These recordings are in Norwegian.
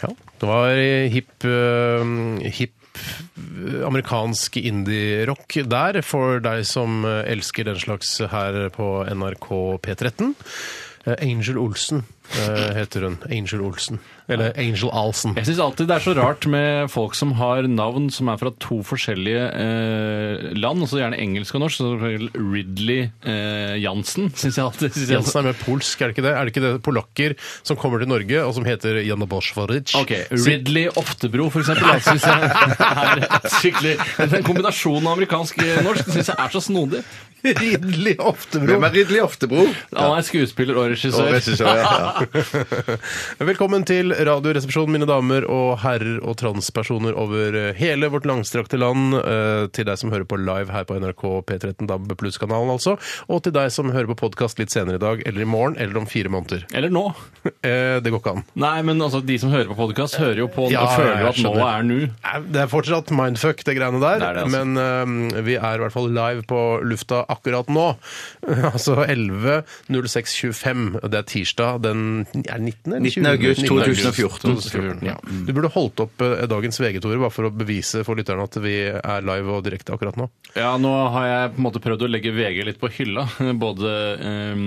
Ja. Det var hipp eh, hipp amerikansk indie-rock der, for deg som eh, elsker den slags her på NRK P13. Eh, Angel Olsen eh, heter hun. Angel Olsen. Eller Angel Alsen. Jeg syns alltid det er så rart med folk som har navn som er fra to forskjellige eh, land, også gjerne engelsk og norsk. Så for eksempel Ridley eh, Jansen syns jeg alltid synes jeg, Jensen er med polsk, er det ikke det? Er det ikke det polakker som kommer til Norge og som heter Janne Boschwaric? Ok, Ridley Oftebro, for eksempel. Jeg synes jeg er skikkelig Den kombinasjonen av amerikansk og norsk syns jeg er så snodig. Ridley Oftebro. Hvem er Ridley Oftebro? Han er skuespiller og Og regissør. regissør, ja. Velkommen til Radioresepsjonen, mine damer og herrer og transpersoner over eh, hele vårt langstrakte land. eh, Til deg som hører på live her på NRK P13 DAB pluss-kanalen, altså. Og til deg som hører på podkast litt senere i dag eller i morgen eller om fire måneder. Eller nå. Eh, Det går ikke an. Nei, men altså, de som hører på podkast, hører jo på Ja, og føler ja, jeg at nå skjønner. er nå. Nei, Det er fortsatt mindfuck, det greiene der. Det er det, altså. Men eh, vi er i hvert fall live på lufta akkurat nå. altså 11.06.25. Det er tirsdag den er det 19. eller 19. 20? august 2014. 2014, ja. Du burde holdt opp eh, dagens VG, Tore, bare for å bevise for lytterne at vi er live og direkte akkurat nå. Ja, nå har jeg på en måte prøvd å legge VG litt på hylla. Både ehm,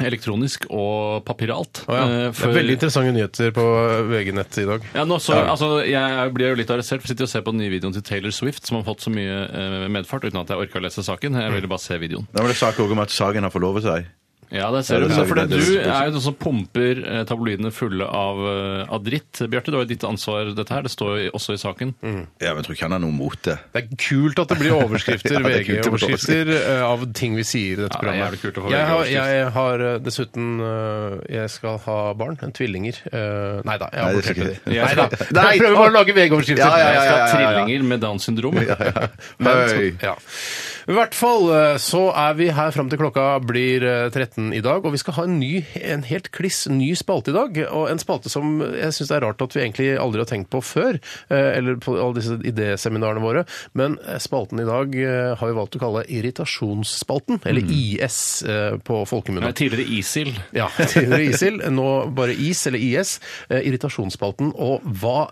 elektronisk og papiralt. Å, ja. Eh, Det er veldig interessante nyheter på VG-nett i dag. ja, nå så, altså, jeg blir jo litt arrestert for å sitte og se på den nye videoen til Taylor Swift, som har fått så mye eh, medfart uten at jeg orka å lese saken. Jeg ville bare se videoen. Da var det sak også om at Sagen har forlovet seg. Ja, det ser du. Ja, det Så ser fordi vi. Det du er er jo den som pumper eh, tabloidene fulle av, eh, av dritt. Bjarte, det var jo ditt ansvar, dette her. Det står jo også i saken. Ja, men jeg tror ikke han har noe mot det. Det er kult at det blir overskrifter, Ja, det er kult å få VG-overskrifter, eh, av ting vi sier i dette Ja, det er programmet. jævlig kult å få jeg, har, VG-overskrift. jeg har eh, dessuten eh, Jeg skal ha barn. en Tvillinger. Eh, Nei da, jeg har Nei, det skal bortskrevet ikke det. det. Nei da. Nei, Jeg prøver bare å lage VG-overskrifter. Ja, ja, Jeg skal ha ja, ja, ja. trillinger med Downs syndrom. Høy. Ja. I hvert fall eh, så er vi her fram til klokka blir eh, 13 i dag, og vi skal ha en ny, en helt kliss ny spalte i dag. Og en spalte som jeg syns det er rart at vi egentlig aldri har tenkt på før, eh, eller på alle disse idéseminarene våre. Men eh, spalten i dag eh, har vi valgt å kalle Irritasjonsspalten, eller IS eh, på folkemunne. Nei, tidligere ISIL. Ja, tidligere ISIL, nå bare IS, eller IS. eh, Irritasjonsspalten. Og hva,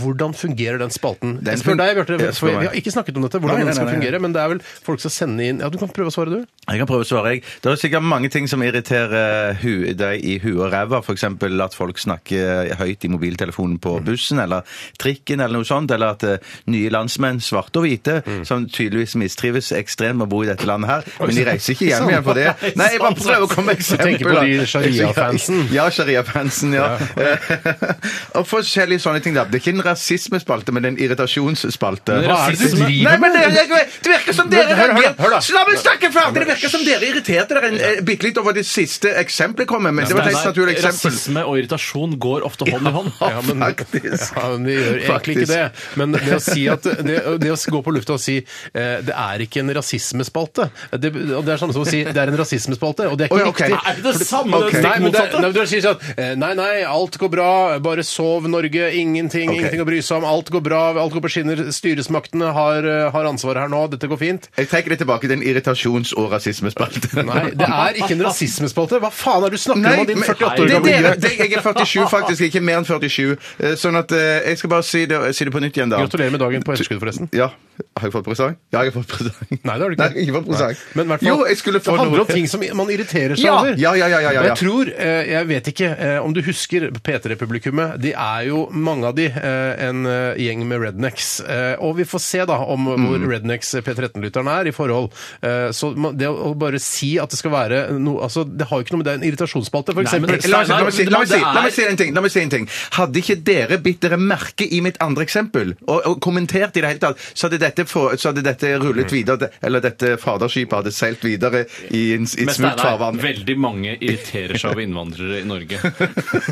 hvordan fungerer den spalten? Den jeg spør fun- deg, Bjarte. Jeg for spør Vi meg. har ikke snakket om dette, hvordan Nei, nei, den skal nei, nei. fungere. Men det er vel folk som sender inn Ja, du kan prøve å svare, du. Jeg kan prøve å svare, jeg. Det er sikkert mange ting som irriterer eh, hu, deg i huet og ræva. F.eks. at folk snakker høyt i mobiltelefonen Mm. på bussen eller trikken eller noe sånt. Eller at eh, nye landsmenn, svarte og hvite, Mm. som tydeligvis mistrives ekstremt med å bo i dette landet her, men de reiser ikke hjem igjen for det. Nei, jeg bare prøver å komme med Du tenker på eksempler. de sharia-fansen? Ja, sharia-fansen, ja. og forskjellige sånne ting. da. Det er ikke en rasismespalte, men en irritasjonsspalte. Men er det du rasisme- driver Nei, men det, jeg, det virker som dere Men hør, hør, reagerer- hør da. La meg snakke ferdig! Det virker som dere irriterte dere en- eh, bitte litt over det siste eksempelet jeg kom med. Men det var et helt Steinar, naturlig eksempel. Altså, Rasisme og irritasjon går ofte hånd i hånd. Ja, men, Faktisk. ja, men vi gjør egentlig ikke Faktisk. det. Men det å, si at, det, det å gå på lufta og si eh, det er ikke en rasismespalte Det, og det er samme som å si det er en rasismespalte, og det er Å, ikke ja, ok. riktig. Er det det samme? Ok. Det er Nei, stikk men det, motsatte. nei, men du sier sånn eh, Nei, nei, alt går bra. Bare sov, Norge. Ingenting Ok. ingenting å bry seg om. Alt går bra. Alt går på skinner. Styresmaktene har, eh, har ansvaret her nå. Dette går fint. Jeg trekker det tilbake til en irritasjons- og rasismespalte. Nei, det er ikke en rasismespalte. Hva faen er det du snakker Nei, om, din men- 48 år det, gamle det, gjøk? det, jeg er 47 faktisk, ikke mer enn 47. Eh, Sånn at eh, jeg skal bare si det, si det på nytt igjen, da. Gratulerer med dagen på etterskudd, forresten. Ja. Har jeg fått presang? Ja, jeg har fått presang. Nei, det har du ikke. Nei, jeg har ikke fått presang. Nei. Men i hvert fall, jo, jeg skulle det få handler noe. om ting som man irriterer seg Ja, over. ja, ja, ja, ja, ja. Og jeg tror, eh, jeg vet ikke eh, om du husker P3-publikummet, de er jo mange av de eh, en eh, gjeng med rednecks. Eh, Og vi får se da om Mm. hvor rednecks P13-lytteren er i forhold. Eh, Så man- det å bare si at det skal være noe, altså det har jo ikke noe med det er en irritasjonsspalte, for Nei, men eksempel. det- La meg si- la meg si- la meg si- Steinar, la meg si en ting. la meg si en ting. Hadde ikke dere bitt dere merke i mitt andre eksempel og, og kommentert i det hele tatt, så hadde dette, få- så hadde dette rullet videre, eller dette faderskipet hadde seilt videre i en- Mm. i et Men smult Steinar, farvann. veldig mange irriterer seg over innvandrere i Norge.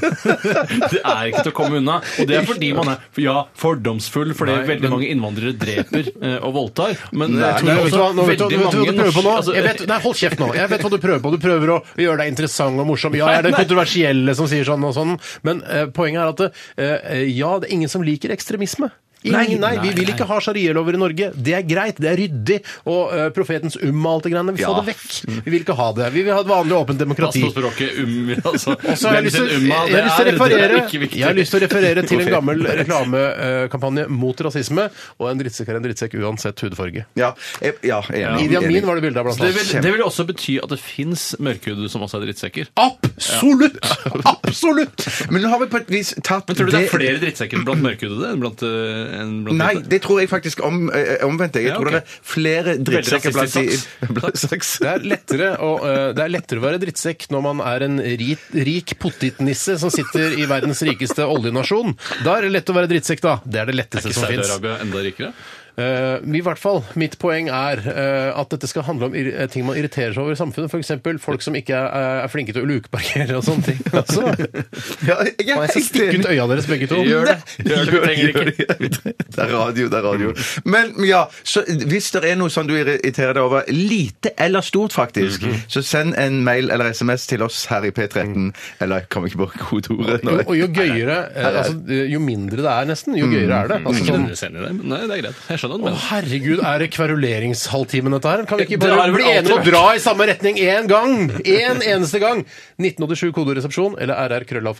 Det er ikke til å komme unna. Og det er fordi man er ja, fordomsfull, fordi veldig mange innvandrere dreper eh, og voldtar. Men Nei, jeg Nei, vet du tror også hva, nå vet du, veldig vet du hva mange du prøver på nå? norske- altså, Jeg vet, nei, hold kjeft nå. Jeg vet hva du prøver på. Du prøver å gjøre deg interessant og morsom. Ja, jeg er den Nei, nei. kontroversielle som sier sånn og sånn, men eh, poenget er at eh, eh, ja, det er ingen som liker ekstremisme. Ingen, nei, vi nei, vil nei. ikke ha sharialover i Norge. Det er greit, det er ryddig. Og eh, profetens umma og alt det greiene. Vi får Ja. det vekk. Vi vil ikke ha det. Vi vil ha et vanlig, åpent Pass demokrati. på språket. Um, altså. Og så har jeg lyst til, Glem den umma, jeg har lyst til å det er- det er referere, ikke viktig. jeg har lyst til å referere til en gammel reklamekampanje mot rasisme, og en drittsekk er en drittsekk uansett hudfarge. Ja, jeg, ja, jeg er enig. Idi Enig. Amin var det bildet av, blant det, annet. vil, det vil også bety at det fins mørkhudede som også er drittsekker. Absolutt! Absolutt! Men nå har vi på et vis tatt Men tror du det, er flere drittsekker blant mørkhudede enn blant, eh, enn blant Nei, hvite? det tror jeg faktisk om, eh, omvendt. Jeg, jeg Ja, tror ok. det er flere drittsekker blant rasistisk de blant saks. Det er, lettere å, eh, det er lettere å være drittsekk når man er en rik, rik potetnisse som sitter i verdens rikeste oljenasjon. Da er det lett å være drittsekk, da. Det er det letteste som fins. Saudi-Arabia enda rikere? Eh, I hvert fall, mitt poeng er eh, at dette skal handle om ir eh, ting man irriterer seg over i samfunnet. F.eks. folk som ikke er, eh, er flinke til å lukeparkere og sånne ting. Altså, Ja, jeg og jeg er skal helt stikke enig. ut øya deres begge to. Gjør det. Gjør det, Gjør det, trenger ikke. gjør det. Det er radio, det er radio. Men ja, så hvis det er noe som du irriterer deg over, lite eller stort faktisk, Mhm. så send en mail eller SMS til oss her i Mm. P13. Eller jeg kommer ikke på kodeordet nå. Jo, og jo gøyere, eh, altså, eh, jo mindre det er nesten, jo gøyere er det. Altså, Ikke sånn, nødvendigvis enig i det, men nei, det er greit. Jeg skjønner hva du å, mener. herregud, er det kveruleringshalvtimen dette her? Kan vi ikke Det har bare det vel bli enige om å alltid dra i samme retning én gang? Én eneste gang! 1987 kodoresepsjon eller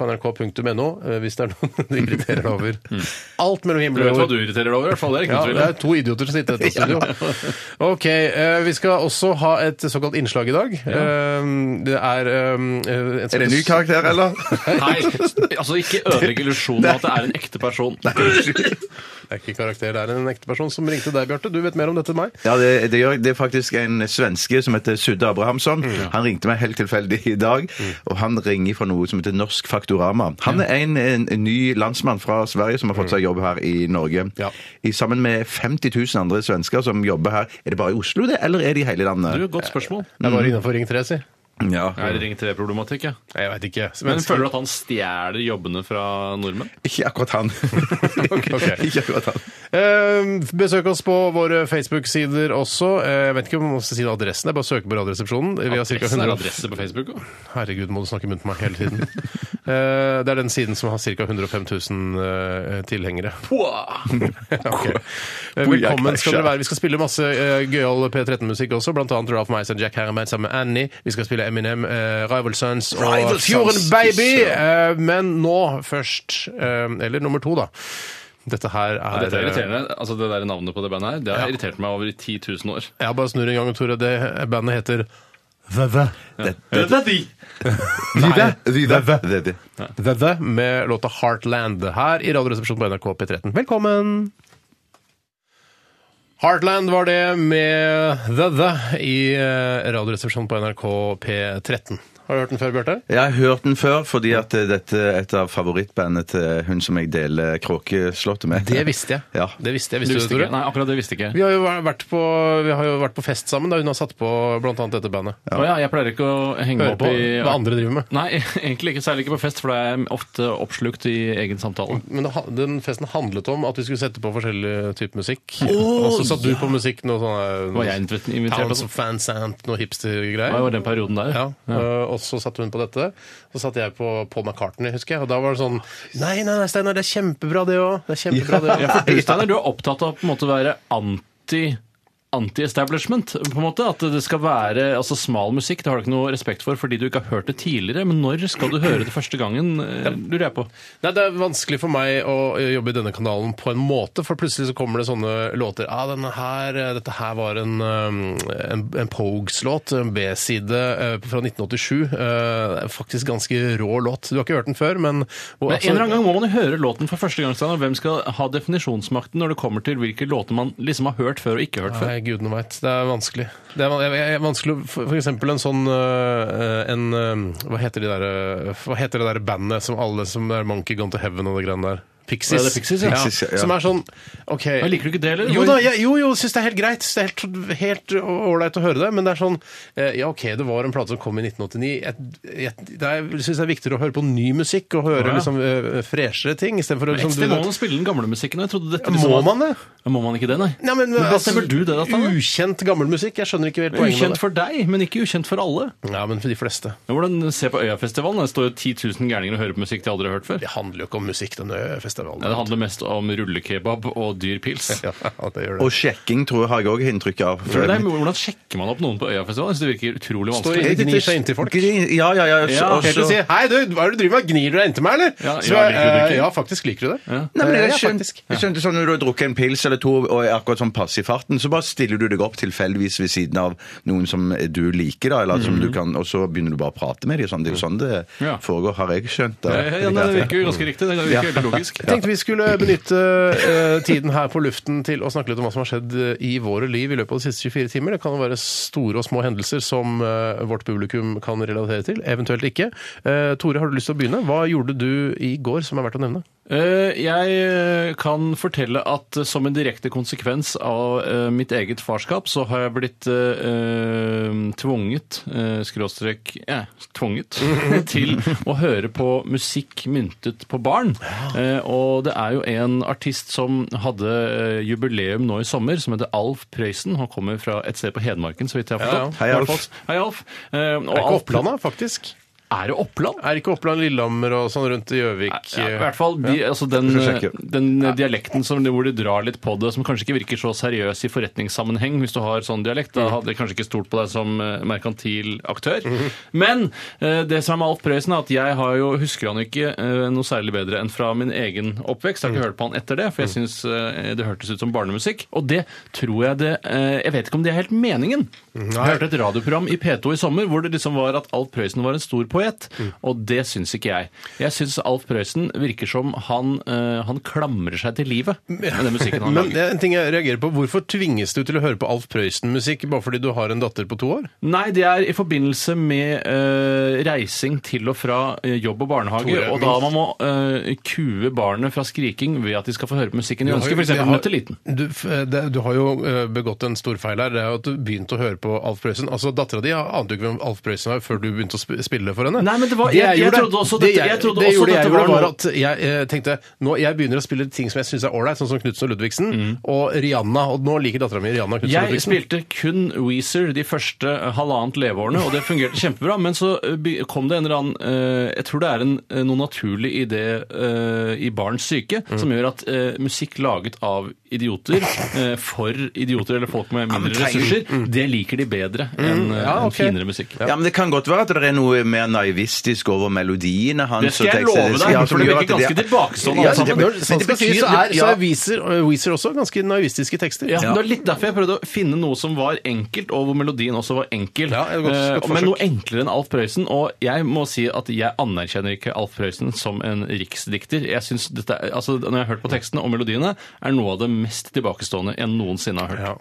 rrkrøllalfa.nrk.no eh, hvis det er noen du irriterer deg over. Alt mellom Mm. Du himmel vet og hva jord. du irriterer deg over, i hvert fall. Det er ikke Ja, noe tvil det om. er to idioter som sitter i dette studio. Ok, eh, Vi skal også ha et såkalt innslag i dag. Eh, Det er ehm, eh, Er det en ny karakter, eller? Nei, altså ikke ødelegg illusjonen av at det er en ekte person. Det er ikke karakter, det er en ekte person som ringte deg, Bjarte. Du vet mer om dette enn meg. Ja, det, det, gjør, jeg. det er faktisk en svenske som heter Sudde Abrahamsson. Mm. Han ringte meg helt tilfeldig i dag, og han ringer fra noe som heter Norsk Faktorama. Han er en, en, en ny landsmann fra Sverige som har fått seg jobb her i Norge. Mm. Ja. I, sammen med 50 000 andre svensker som jobber her. Er det bare i Oslo, det, eller er det i hele landet? Du, godt spørsmål. Jeg var Mm. innafor Ring 3, si. Ja. Er det Ring 3-problematikk, ja? Jeg veit ikke. Men føler du at han stjeler jobbene fra nordmenn? Ikke akkurat han. Ok. Ikke akkurat han. Eh, besøk oss på våre Facebook-sider også. Eh, jeg vet ikke om man skal si det adressen. Det er bare å søke på Radioresepsjonen. Vi har cirka Adressen er 100 adresse på Facebook også. Herregud, må du snakke i munnen på meg hele tiden. Eh, det er den siden som har ca. 105 000 eh, tilhengere. Ok. Eh, Velkommen skal dere være. Vi skal spille masse uh, gøyal P13-musikk også, blant annet Ralph Mice og Jack Harriman sammen med Annie. Vi skal spille Eminem, eh, Rival Sons og Rival Sons, Fjorden Baby! fy Eh, men nå først, eh, eller nummer to, da. Dette her er, eh, Nei, Dette er irriterende. Altså, det der navnet på det bandet her, det har irritert meg over i 10 000 år. Jeg bare snur en gang, Tore. Det bandet heter The Vive! Vive! Vive. The The med låta Heartland her i Radioresepsjonen på NRK P13. Velkommen! Heartland var det med The The i eh, Radioresepsjonen på NRK P13. Har du hørt den før, Bjarte? Jeg har hørt den før, fordi at eh, dette er et av favorittbandene til hun som jeg deler Kråkeslottet med. Det visste jeg. Ja. Det visste jeg, Du visste du, det, visste ikke? Tore? Nei, akkurat det visste ikke jeg. Vi har, jo vært på, vi har jo vært på fest sammen da hun har satt på blant annet dette bandet. Å ja, jeg pleier ikke å henge meg Hører opp på i hva andre driver med. Nei, egentlig ikke. Særlig ikke på fest, for da er jeg ofte oppslukt i egen samtale. Men det ha- den festen handlet om at vi skulle sette på forskjellig type musikk. og så satt du på musikk noe sånn Var jeg invitert? invitert Towns altså? of Fansant, noe hipstergreier. Det var den perioden der. Ja, øh, Og så satte hun på dette. Så satte jeg på Paul McCartney, husker jeg. Og da var det sånn Nei, nei, nei, Steinar, det er kjempebra, det òg. Det er kjempebra, det Ja, for òg. du, Steinar, du er opptatt av å på en måte være anti anti-establishment, på en måte, at det skal være altså smal musikk, det har du ikke noe respekt for fordi du ikke har hørt det tidligere, men når skal du høre det første gangen, eh, lurer jeg på. Nei, det er vanskelig for meg å jobbe i denne kanalen på en måte, for plutselig så kommer det sånne låter. Ah, denne her, eh, dette her var en, um, en, en Pogues-låt, en B-side eh, fra 1987. Eh, Faktisk ganske rå låt. Du har ikke hørt den før, men og, Men en eller annen gang må man jo høre låten for første gang, Steinar. Hvem skal ha definisjonsmakten når det kommer til hvilke låter man liksom har hørt før og ikke hørt før? Nei, gudene veit. Det er vanskelig. Det er, van- jeg- jeg- jeg- vanskelig å- for, for eksempel en sånn øh, en, øh, hva, heter de der, øh, hva heter det der bandet som alle som er Monkey Gone to Heaven og det greiene der? Pixies. Ja, det er Pixies, ja. Pixies, ja, ja. Som er sånn OK. Jeg liker du ikke det, eller? Jo da, jeg, jo, jo, syns det er helt greit. Det er helt- helt ålreit å høre det. Men det er sånn eh, Ja, OK, det var en plate som kom i 1989. Jeg, jeg, det er- jeg syns det er viktigere å høre på ny musikk og høre Å, ja. liksom eh, freshere ting istedenfor å Men liksom ekstra må du- man spille den gamle musikken. og Jeg trodde dette liksom Må man det? Ja, Må man ikke det, nei? Nei, men, altså, Hvordan stemmer du det, da, Steinar? Ukjent gammel musikk. Jeg skjønner ikke helt poenget med Ukjent det. for deg, men ikke ukjent for alle. Ja, men for de fleste. Ja, Hvordan Se på Øyafestivalen. Der står jo 10 000 gærninger og hører på musikk de aldri har hørt før. Det handler jo ikke om musikk, denne stemmer. Ja, det handler mest om rullekebab og dyr pils. Ja, det gjør det. Og sjekking tror jeg har jeg òg inntrykk av. Jeg tror det er- Hvordan sjekker man opp noen på Øyafestivalen? Jeg synes Det virker utrolig Står vanskelig. i- gnir seg inntil folk. Gni- Ja, ja, ja. Ja, helt også- Helt til å si 'hei, du, hva er det du driver med? Gnir du deg inntil meg', eller? Ja, Så ja, jeg, liker du eh, drikking? ja, faktisk liker du det. Ja. Nei, men jeg Ja, skjønte, faktisk. jeg skjønte sånn Når du har drukket en pils eller to og er akkurat sånn pass i farten, så bare stiller du deg opp tilfeldigvis ved siden av noen som du liker, da, eller som du kan, og så begynner du bare å prate med dem. Sånn. Det er jo sånn det Ja. foregår, har jeg skjønt. Da. Ja, ja, nei, det virker jo ganske riktig. Det virker veldig logisk. Jeg tenkte vi skulle benytte eh, tiden her på luften til å snakke litt om hva som har skjedd eh, i våre liv i løpet av de siste 24 timer. Det kan jo være store og små hendelser som eh, vårt publikum kan relatere til, eventuelt ikke. Eh, Tore, har du lyst til å begynne? Hva gjorde du i går som er verdt å nevne? Eh, Jeg eh, kan fortelle at eh, som en direkte konsekvens av eh, mitt eget farskap, så har jeg blitt eh, eh, tvunget, eh, skråstrek ja, tvunget, til å høre på musikk myntet på barn. Eh, Og det er jo en artist som hadde eh, jubileum nå i sommer, som heter Alf Prøysen. Han kommer fra et sted på Hedmarken, så vidt jeg har Ja, ja. forstått. Hei, Alf. I hvert fall. Hei, Alf. Eh, og Er ikke Alf- Oppland, da, faktisk? Er det Oppland? Er ikke Oppland Lillehammer og sånn rundt i Gjøvik? eh, Ja, I hvert fall de, altså den, Jeg skal sjekke. den eh, dialekten som, hvor de drar litt på det, som kanskje ikke virker så seriøs i forretningssammenheng hvis du har sånn dialekt. Da hadde de kanskje ikke stolt på deg som eh, merkantil aktør. Men eh, det som er med Alf Prøysen, er at jeg har jo, husker han ikke eh, noe særlig bedre enn fra min egen oppvekst. Jeg har Mm. ikke hørt på han etter det, for jeg syns eh, det hørtes ut som barnemusikk. Og det tror jeg det eh, Jeg vet ikke om det er helt meningen. Jeg hørte et radioprogram i P2 i sommer hvor det liksom var at Alf Prøysen var en stor poet, Mm. og det syns ikke jeg. Jeg syns Alf Prøysen virker som han, eh, han klamrer seg til livet med den musikken han Men lager. det er en ting jeg reagerer på. Hvorfor tvinges du til å høre på Alf Prøysen-musikk bare fordi du har en datter på to år? Nei, det er i forbindelse med eh, reising til og fra eh, jobb og barnehage, Tore, og da man må eh, kue barnet fra skriking ved at de skal få høre på musikken de ønsker, f.eks. Vi har- Nøtteliten. Du, f- det, du har jo eh, begått en stor feil her. Det er jo at du begynte å høre på Alf Prøysen. Altså, Dattera di ante jo ikke hvem Alf Prøysen var før du begynte å sp- spille for henne. Nei, men det var- Det jeg- jeg gjorde- trodde også det dette- jeg- jeg trodde det også gjorde dette jeg var gjorde, var noe- at jeg eh, tenkte nå, jeg begynner å spille ting som jeg syns er ålreit, sånn som Knutsen og Ludvigsen og Rihanna. Og nå liker dattera mi Rihanna Knutsen og Mm. Jeg Ludvigsen. spilte kun Weezer de første eh, halvannet leveårene, og det fungerte kjempebra. Men så eh, be- kom det en eller annen eh, Jeg tror det er en, eh, noe naturlig i det eh, i barns psyke Mm. som gjør at eh, musikk laget av idioter eh, for idioter eller folk med mindre trenger- ressurser, det liker de bedre enn eh, Mm. ja, enn ok. finere musikk. Ja, men Det kan godt være at det er noe mer naivistisk over melodiene hans. Det skal og jeg teksten. love deg, Ja, for som det gjør virker at det- ganske tilbakestående, Ja, alle sammen. det- Når men sånn det skal sies, betyr- så er, så ja. er Weezer, Weezer også ganske naivistiske tekster. Ja, Det var litt derfor jeg prøvde å finne noe som var enkelt, og hvor melodien også var enkel. Ja, et godt- godt Eh, men forsøk. noe enklere enn Alf Prøysen. Og jeg må si at jeg anerkjenner ikke Alf Prøysen som en riksdikter. Jeg synes dette, er- altså, Når jeg har hørt på tekstene og melodiene, er noe av det mest tilbakestående jeg noensinne har hørt. Ja.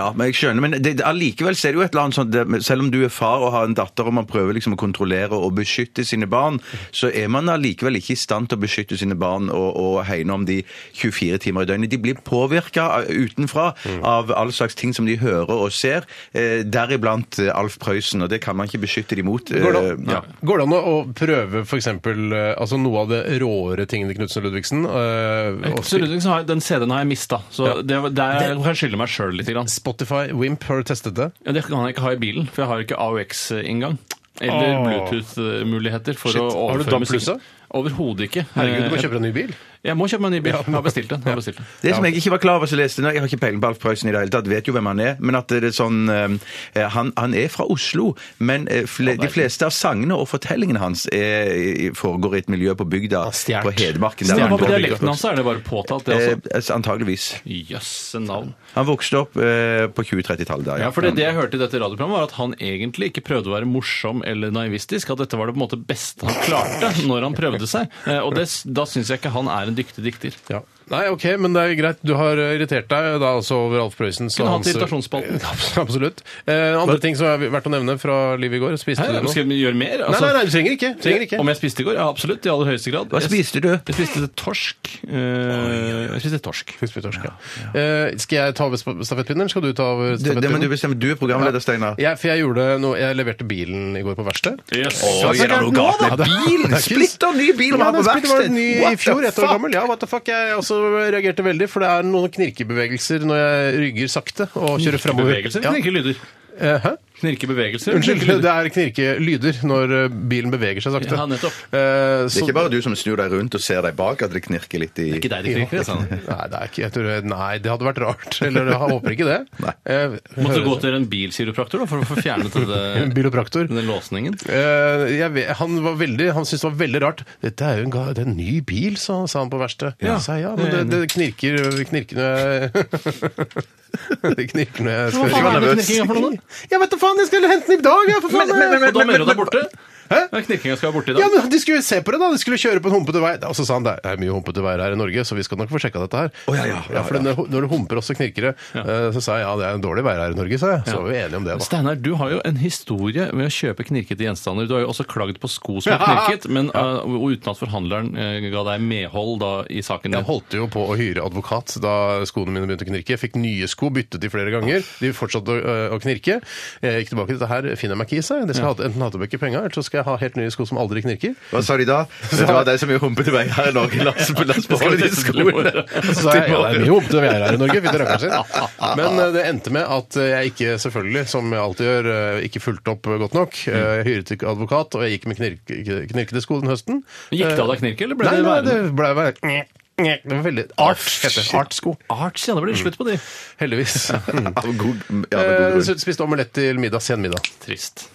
Ja, men jeg skjønner, men det, allikevel så er det jo et eller annet sånn, det, selv om du er far og har en datter og man prøver liksom å kontrollere og beskytte sine barn, så er man allikevel ikke i stand til å beskytte sine barn og, og hegne om de 24 timer i døgnet. De blir påvirka utenfra Mm. av all slags ting som de hører og ser, eh, deriblant eh, Alf Prøysen, og det kan man ikke beskytte dem mot. Går det, eh, an, ja. går det an å å prøve for eksempel, eh, altså noe av det råere tingene til Knutsen og Ludvigsen? eh, og Absolutt, liksom, har- Den CD-en har jeg mista, så Ja. det, der kan jeg skylde meg sjøl litt. Grann. Spotify, Wimp, har du testet det? Ja, det kan jeg ikke ha i bilen, for jeg har jo ikke AUX-inngang. eh, Eller Åh. Bluetooth-muligheter for Shit. å Har du overføre DAB+, musikken. da? Overhodet ikke. Herregud, du må Eh, kjøpe deg en ny bil. Jeg må kjøpe meg en ny bil. Jeg har bestilt den. Jeg har bestilt den. Det som jeg ikke var klar over, så leste jeg nå, jeg har ikke peiling på Alf Prøysen i det hele tatt, vet jo hvem han er, men at det er sånn eh, han, han er fra Oslo, men eh, fle, de fleste av sangene og fortellingene hans er, foregår i et miljø på bygda, stjert. på Hedmarken. der Men han hva med ble dialekten oppvokst. hans? Er det bare påtatt, det også? Eh, altså, antageligvis. Jøsse navn. Han vokste opp eh, på 20-30-tallet der, Ja, for det, det jeg hørte i dette radioprogrammet, var at han egentlig ikke prøvde å være morsom eller naivistisk. At dette var det på en måte beste han klarte når han prøvde seg. Eh, Og det, da syns jeg ikke han er en dyktig dikter. Eh, Ja. Nei, ok, men det er greit. Du har eh, irritert deg da altså over Alf Prøysen. så Kunne hatt hans- irritasjonsspalten. Absolutt. Eh, andre ting som er verdt å nevne fra livet i går? Spiste Hæ, du noe? skal vi gjøre mer? Nei, Altså, nei, nei, du trenger ikke. Trenger ikke. Om jeg spiste i går? Ja, absolutt. I aller høyeste grad. Hva Jeg- spiste du? Jeg spiste torsk. Eh, Jeg spiste torsk. Fiskespyttorsk, ja. Eh, skal jeg ta over sp- stafettpinnen, eller skal du ta over Det, det må stafettpinnen? du bestemme. Du er programleder, Steinar. Ja, for jeg gjorde noe, jeg leverte bilen i går på verkstedet. Yes. Oi, er det noe galt med bilen? Splitter ny bil man Ja, har på den splitter var verksted! ny i fjor, ett år gammel. Ja, what the fuck. Jeg også reagerte veldig, for det er noen knirkebevegelser når jeg rygger sakte og kjører framover. Bevegelser? Ja. Ikke lyder. Eh, Hæ? Knirke bevegelser? Unnskyld, det er knirkelyder når eh, bilen beveger seg sakte. Ja, nettopp. Eh, Det så- er ikke bare du som snur deg rundt og ser deg bak at det knirker litt i Det er ikke deg det knirker, altså. Nei, det er ikke, jeg tror, nei, det hadde vært rart. Eller jeg håper ikke det. Nei. Eh, Måtte du gå til en bilkiropraktor da, for å få fjernet En denne, Bilopraktor. denne låsningen? Eh, jeg vet, han var veldig, han syntes det var veldig rart. 'Dette er jo en, ga- det er en ny bil', sa han, sa han på verkstedet. Ja. Jeg sa ja, men det, det knirker knirkende Det knirkende jeg skal- Hva faen er det nervøs. knirkinga for noe, da? Jeg vet da faen, jeg skal hente den i dag, jeg, for faen! Og da mener du det er borte? Hæ? Ja, Knirkinga skal være borte i Ja, dag. men De skulle se på det, da. De skulle kjøre på en humpete vei. Og så sa han det er mye humpete veier her i Norge, så vi skal nok få sjekka dette her. Å, ja, ja, ja, for Når, når det humper også knirker det. Eh, Så sa jeg ja, det er en dårlig veier her i Norge, sa jeg. Så var vi enige om det, da. Steinar, du har jo en historie med å kjøpe knirkete gjenstander. Du har jo også klagd på sko som er knirket, men uh, og uten at forhandleren uh, ga deg medhold da i saken Jeg din. holdt jo på å hyre advokat da skoene mine begynte å knirke. Jeg fikk nye sko, byttet de flere ganger. De fortsatte å, øh, å knirke. Jeg gikk tilbake til dette her, finner jeg meg ikke i seg. Det skal jeg ha, enten ha tilbake penga, eller så skal jeg ha helt nye sko som aldri knirker. Hva sa de da? Vet du hva, det er så mye humpete veier her i Norge. La oss, la oss beholde de skoene. Så sa jeg, ja, det er mye opp til å være her i Norge, fytti rakkeren sin. Men eh, det endte med at eh, jeg ikke, selvfølgelig, som jeg alltid gjør, eh, ikke fulgte opp eh, godt nok. Eh, Jeg hyret ikke advokat, og jeg gikk med knirk, knirkede sko den høsten. Eh, Gikk det av deg knirket, eller ble Nei, det nei, det værende? ble bare det var veldig Art, heter det. Artsko. Arts, ja. Det ble slutt på de. Heldigvis. Av god, ja, med Eh, god grunn. så Spiste omelett til middag, sen middag. Trist.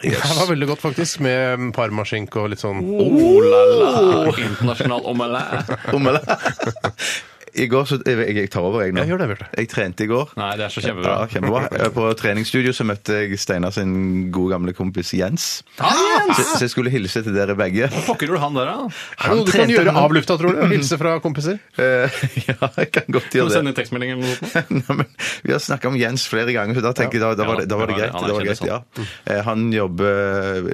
Det var veldig godt, faktisk, med mm, parmaskinke og litt sånn Oh la la! Internasjonal omelett. Omelett. I går så Jeg, jeg tar over, jeg nå. Ja, gjør det, Bjarte. Jeg trente i går. Nei, det er så Ja, kjempebra. kjempebra. Eh, På treningsstudio så møtte jeg Steinar sin gode gamle kompis Jens. Ah, Så, så jeg skulle hilse til dere begge. Pokker gjorde han der, da? Er det noe du kan trente gjøre den. av lufta, tror du? Hilse fra kompiser? Eh, ja, jeg kan godt Kan du gjøre sende det. en tekstmelding eller noe sånt? Nei, men vi har snakka om Jens flere ganger, så da tenker jeg da, da, var, det, da var det Ja, greit. han er Da var det greit ja. Eh, Han jobber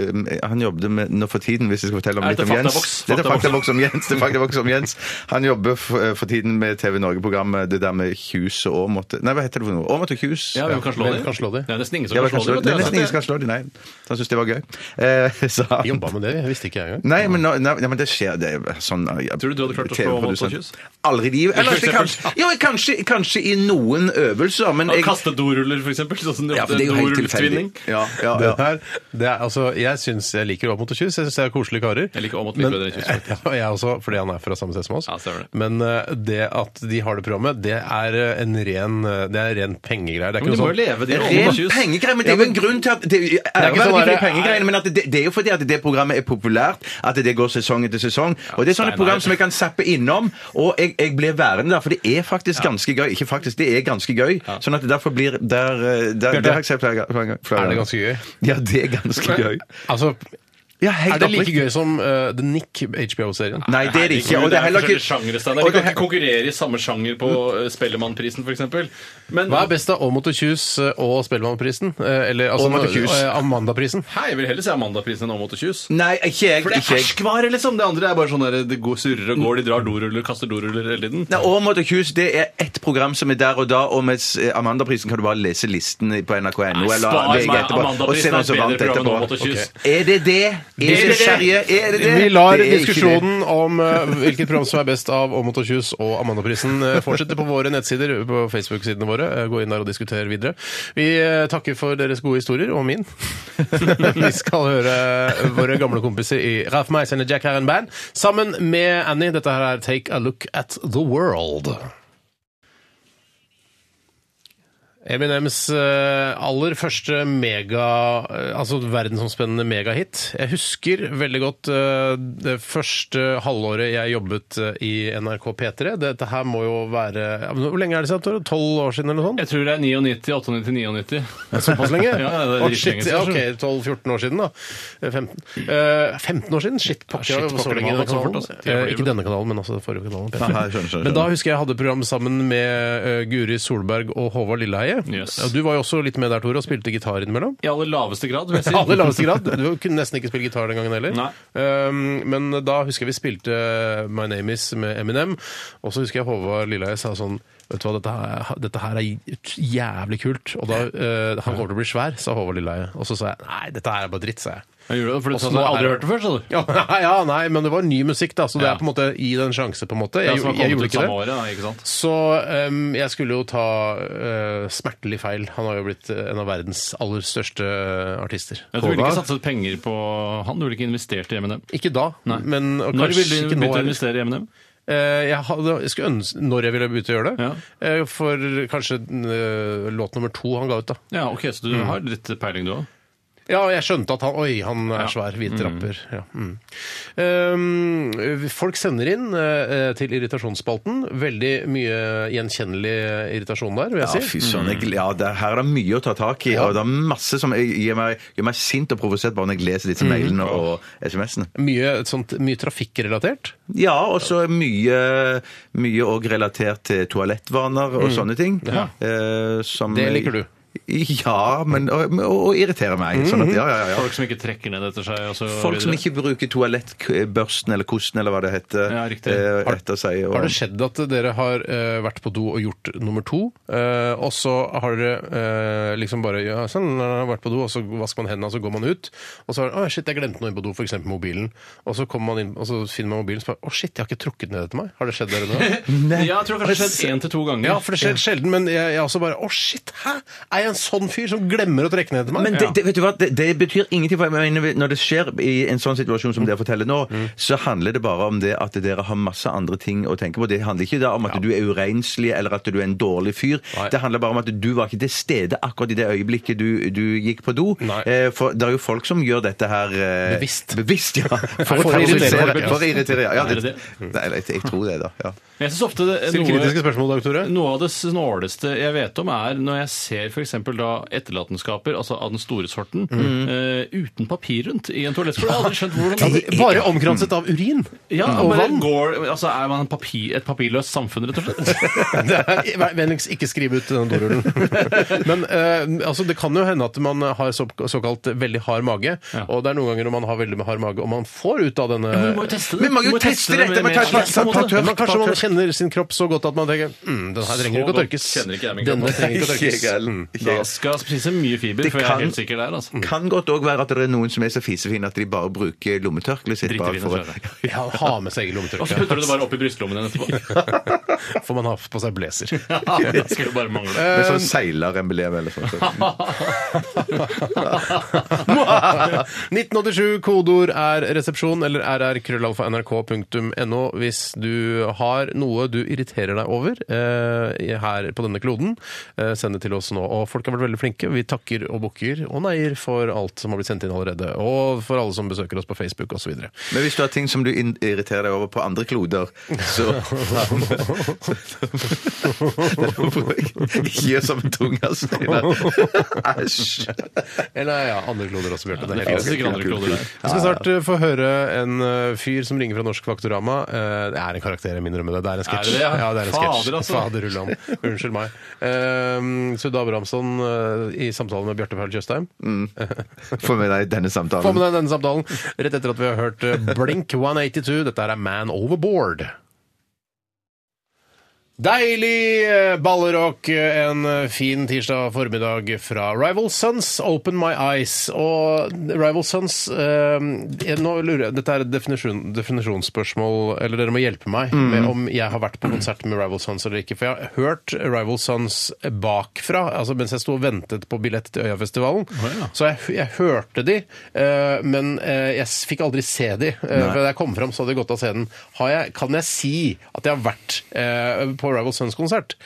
eh, Han jobbet med nå for tiden, hvis jeg skal fortelle om Er litt dette om Jens. faktaboks? Dette er Faktaboks. faktaboks om Jens. Det er faktaboks om Jens. Han jobber eh, for, for tiden med TV Norge-programmet Det der med Kjus og Aamodt Nei, hva heter det for noe? Aamodt og Kjus. Ja, hvem kan slå Hvem de? kan slå de? Det er nesten ingen som Ja, vel, kan kanskje, slå det de. er vet nesten du. ingen som kan slå dem, nei. Så han syntes det var gøy. Eh, så han- Jobba med det, jeg visste ikke jeg engang. Nei, men, nå- nei, nei, men det skjer det er sånn ja, Tror du du hadde klart å slå TV-produsent. Walter Kjus? Aldri i livet. Eller det kanskje, jo, kanskje, kanskje i noen øvelser, men jeg Kaste doruller, for eksempel. Sånn som de ja, for det er jo helt tilfeldig. dorulltvinning. Ja, ja, Det ja. her, det er, altså, jeg syns jeg liker Aamodt og Kjus. Jeg syns det er koselige karer. Jeg liker Aamodt litt Men- bedre enn Kjus, Ja, jeg også, fordi han er fra samme sted som oss. Ja, stemmer det. Men eh, det at de har det programmet, det er eh, en ren, eh, det er ren pengegreie. Det er Men ikke noe de må jo sånn leve, de Ren Aamodt og Kjus. pengegreie, men det er jo en grunn til at Det, det er ikke sånn der- pengegreiene, men at det, det er jo fordi at det programmet er populært, at det går sesong etter sesong. Og det er sånne Steinar. program som jeg kan zappe innom, og jeg, jeg blir værende der, for det er faktisk ganske gøy. Ikke faktisk, det er ganske gøy. Sånn at det derfor blir der, eh, der, Det har jeg sett flere ganger. Er det ganske gøy? Ja, det er ganske gøy. Altså, Ja, helt er det like oppriktig. gøy som eh, The Nick HBO-serien? Nei, det er det ikke. Og det er heller ikke forskjellige sjangere, Steinar. og Vi det Mm. kan ikke konkurrere i samme sjanger på eh, Spellemannprisen, for eksempel. Men Hva er best av Aamodt og Kjus eh, og Spellemannprisen? Eh, Eller altså, Aamodt og Kjus. eh, Amandaprisen? Hei, jeg vil heller se Amandaprisen enn Aamodt og Kjus. Nei, ikke jeg. For det er Mm. Ikke jeg. ferskvare, liksom. Det andre er bare sånn der, det går surrer og går, de drar doruller, kaster doruller hele tiden. Nei, Aamodt og Kjus det er ett program som er der og da, og med Amandaprisen kan du bare lese listen på nrk.no Nei, eller spar VG meg. etterpå. Og se Amandaprisen hvem er et som bedre vant program enn etterpå. Aamodt og Kjus. Ok. Er det det? Er det det det? Sverige? Er det det? Vi lar Det er ikke det. diskusjonen om eh, hvilket program som er best av Aamodt og Kjus og Amandaprisen eh, fortsette på våre nettsider, på Facebook-sidene våre. Eh, Gå inn der og diskuter videre. Vi eh, takker for deres gode historier, og min. Vi skal høre eh, våre gamle kompiser i Ralph Meis and the Jack Herren Band sammen med Annie. Dette her er Take a Look at the World. Eminems eh, aller første mega eh, altså verdensomspennende megahit. Jeg husker veldig godt eh, det første halvåret jeg jobbet eh, i NRK P3. Dette her må jo være ja, men Hvor lenge er det siden? Tore? 12 år siden eller noe sånt? Jeg tror det er 99, 98, 99. Såpass lenge? Ja, det er Å, dritlenge shit, siden, ja, kanskje. ok, 12-14 år siden, da. Eh, 15, Eh, 15 år siden? Shit, pokker, shit, det var så pokker, det lenge var den så fort, kanalen. altså. Eh, Ikke denne kanalen, men altså den forrige kanalen. P3. Aha, skjønner, skjønner, Men da husker jeg jeg hadde program sammen med eh, Guri Solberg og Håvard Lilleheie. Yes. Ja, Du var jo også litt med der, Tore, og spilte gitar innimellom. I aller laveste grad, vil jeg si. I aller laveste grad. Du kunne nesten ikke spille gitar den gangen heller. Nei. Um, men da husker jeg vi spilte My Name Is med Eminem, og så husker jeg Håvard Lilleheie sa sånn Vet du hva, dette her, dette her er jævlig kult. Og da eh, Han kommer til å bli svær, sa Håvard Lilleheie. Og så sa jeg nei, dette her er bare dritt, sa jeg. Jeg gjorde det, for du Også sa du nå er aldri det- hørt det før, sa du. Ja, ja, nei, men det var ny musikk, da, så det Ja. er på en måte gi det en sjanse, på en måte. Ja, Jeg, som har jeg, kommet gjorde ut ikke samme det. året, da, ikke sant? Så ehm, jeg skulle jo ta eh, smertelig feil. Han har jo blitt eh, en av verdens aller største eh, artister. Jeg tror du ville Håvard? ikke satset penger på han, du ville ikke investert i M&M. Ikke da, Nei. men og Når kanskje ville du ikke nå begynt å heller. investere i M&M? Eh, jeg, hadde, jeg skulle ønske når jeg ville begynne å gjøre det. Ja. Eh, for kanskje eh, låt nummer to han ga ut, da. Ja, ok, så du har litt peiling du òg. Ja, og jeg skjønte at han Oi, han er Ja. svær, hvit rapper. Ja. Mm. Ehm, folk sender inn eh, til irritasjonsspalten. Veldig mye gjenkjennelig irritasjon der, vil jeg Ja, si. fy søren. jeg- Ja, det, her er det mye å ta tak i. Og det er masse som jeg- gjør meg, gjør meg sint og provosert bare når jeg leser disse mailene og SMS-ene. Mye, sånt, mye trafikkrelatert. Ja, og så er mye mye òg relatert til toalettvaner og sånne ting. eh, som- Mm. Det liker du. Ja, men, og, og, og irriterer meg. Sånn Mhm. at, ja, ja, ja. Folk som ikke trekker ned etter seg. Og så Folk som videre. ikke bruker toalettbørsten eller kosten eller hva det heter, Ja, riktig. eh, etter seg. og- Har det skjedd at dere har eh, vært på do og gjort nummer to, eh, og så har dere eh, liksom bare ja, sånn, når dere har vært på do, og så vasker man hendene, og så går man ut, og så har Å, shit, jeg glemte noe inn på do, f.eks. mobilen. Og så kommer man inn, og så finner man mobilen, og så bare Å, shit, jeg har ikke trukket ned etter meg. Har det skjedd dere nå? Ja, jeg tror kanskje det har skjedd én til to ganger. ja, for det skjer sjelden, men jeg, jeg også bare Å, shit, hæ? Er jeg en sånn fyr som glemmer å trekke ned etter meg? Men det, det, vet du hva? Det, det betyr ingenting. for jeg mener, Når det skjer i en sånn situasjon som dere forteller nå, så handler det bare om det at dere har masse andre ting å tenke på. Det handler ikke da om at du er urenslig eller at du er en dårlig fyr. Nei. Det handler bare om at du var ikke til stede akkurat i det øyeblikket du, du gikk på do. Nei. Eh, for det er jo folk som gjør dette her eh, Bevisst. Bevisst, ja. For, å å irritere irritere. folk, ja. For å irritere, ja. ja Er det det, nei, jeg, jeg tror det, da. Ja. Men Jeg synes ofte det, Still kritiske noe, spørsmål, Dag Tore. noe av det snåleste jeg vet om, er når jeg ser f.eks. da etterlatenskaper, altså av den store sorten, eh, uten papir rundt i en toalettskål. Jeg har aldri skjønt hvordan Mm. Ja, bare omkranset av urin ja, og bare vann. Går, altså, er man en papir, et papirløst samfunn, rett og slett? Det er- vær Vennligst ikke skriv ut den dorullen. Men eh, altså, det kan jo hende at man har så, såkalt veldig hard mage. Ja. Og det er noen ganger når man har veldig hard mage, og man får ut av denne Men vi må jo teste det. Men man Vi må jo må teste det dette, med- man med- kan ikke på en ta- ta- måte. ta- Men kanskje tøft. man kjenner sin kropp så godt at man tenker mm, den her trenger Så ikke å godt tørkes. kjenner ikke jeg min kropp. Denne trenger ikke å Ikke jeg tørkes. heller. Mm. Ikke Da jeg heller. skal jeg spise mye fiber, Det for jeg er kan- Mm, helt sikker der. altså. Kan godt òg være at det er noen som er så fisefine at de bare bruker lommetørkleet sitt. Driter Bare vi i for, det, å- tror jeg. Ja, ha med seg egen Og så lommetørkle. putter du det bare opp i brystlommen din etterpå. Får man ha på seg blazer. Det skulle bare mangle. Med Um, sånn seileremblem eller sånn, sånt. 1987, kodeord er resepsjon eller rrkrøllalfa.nrk.no hvis du har noe du irriterer deg over eh, her på denne kloden. Eh, send det til oss nå. Og folk har vært veldig flinke. Vi takker og bukker og neier for alt som har blitt sendt inn allerede. Og for alle som besøker oss på Facebook osv. Men hvis du har ting som du in- irriterer deg over på andre kloder, så Det må jeg ikke gjøre som en tunge, Steinar. Æsj. Eller ja, andre kloder også, Bjarte. Det det er finnes helt greit. sikkert andre kloder der. Vi skal snart eh, få høre en eh, fyr som ringer fra Norsk Faktorama. Eh, Det er en karakter, jeg minner om det. Det er en Er det sketsj. det, ja? Ja, det er en sketsj. Fader, altså. Faderullan. Unnskyld meg. Eh, Sudde Abrahamsson eh, i samtale med Bjarte Paul Tjøstheim. Få med deg denne Få med samtalen. deg denne samtalen rett etter at vi har hørt eh, Blink 182. Dette her er Man Overboard. Deilig eh, ballerock eh, en eh, fin tirsdag formiddag fra Rival Sons, Open My Eyes. Og Rival Sons eh, jeg- nå lurer jeg, Dette er et definisjon, definisjonsspørsmål, eller dere må hjelpe meg med om jeg har vært på konsert med Rival Sons eller ikke. For jeg har hørt Rival Sons bakfra, altså mens jeg sto og ventet på billett til Øyafestivalen. Så jeg, jeg hørte de, eh, men eh, jeg s- fikk aldri se de. Eh, for da jeg kom fram, så hadde de gått av scenen. Har jeg, kan jeg si at jeg har vært eh, på Rival Sons-konsert?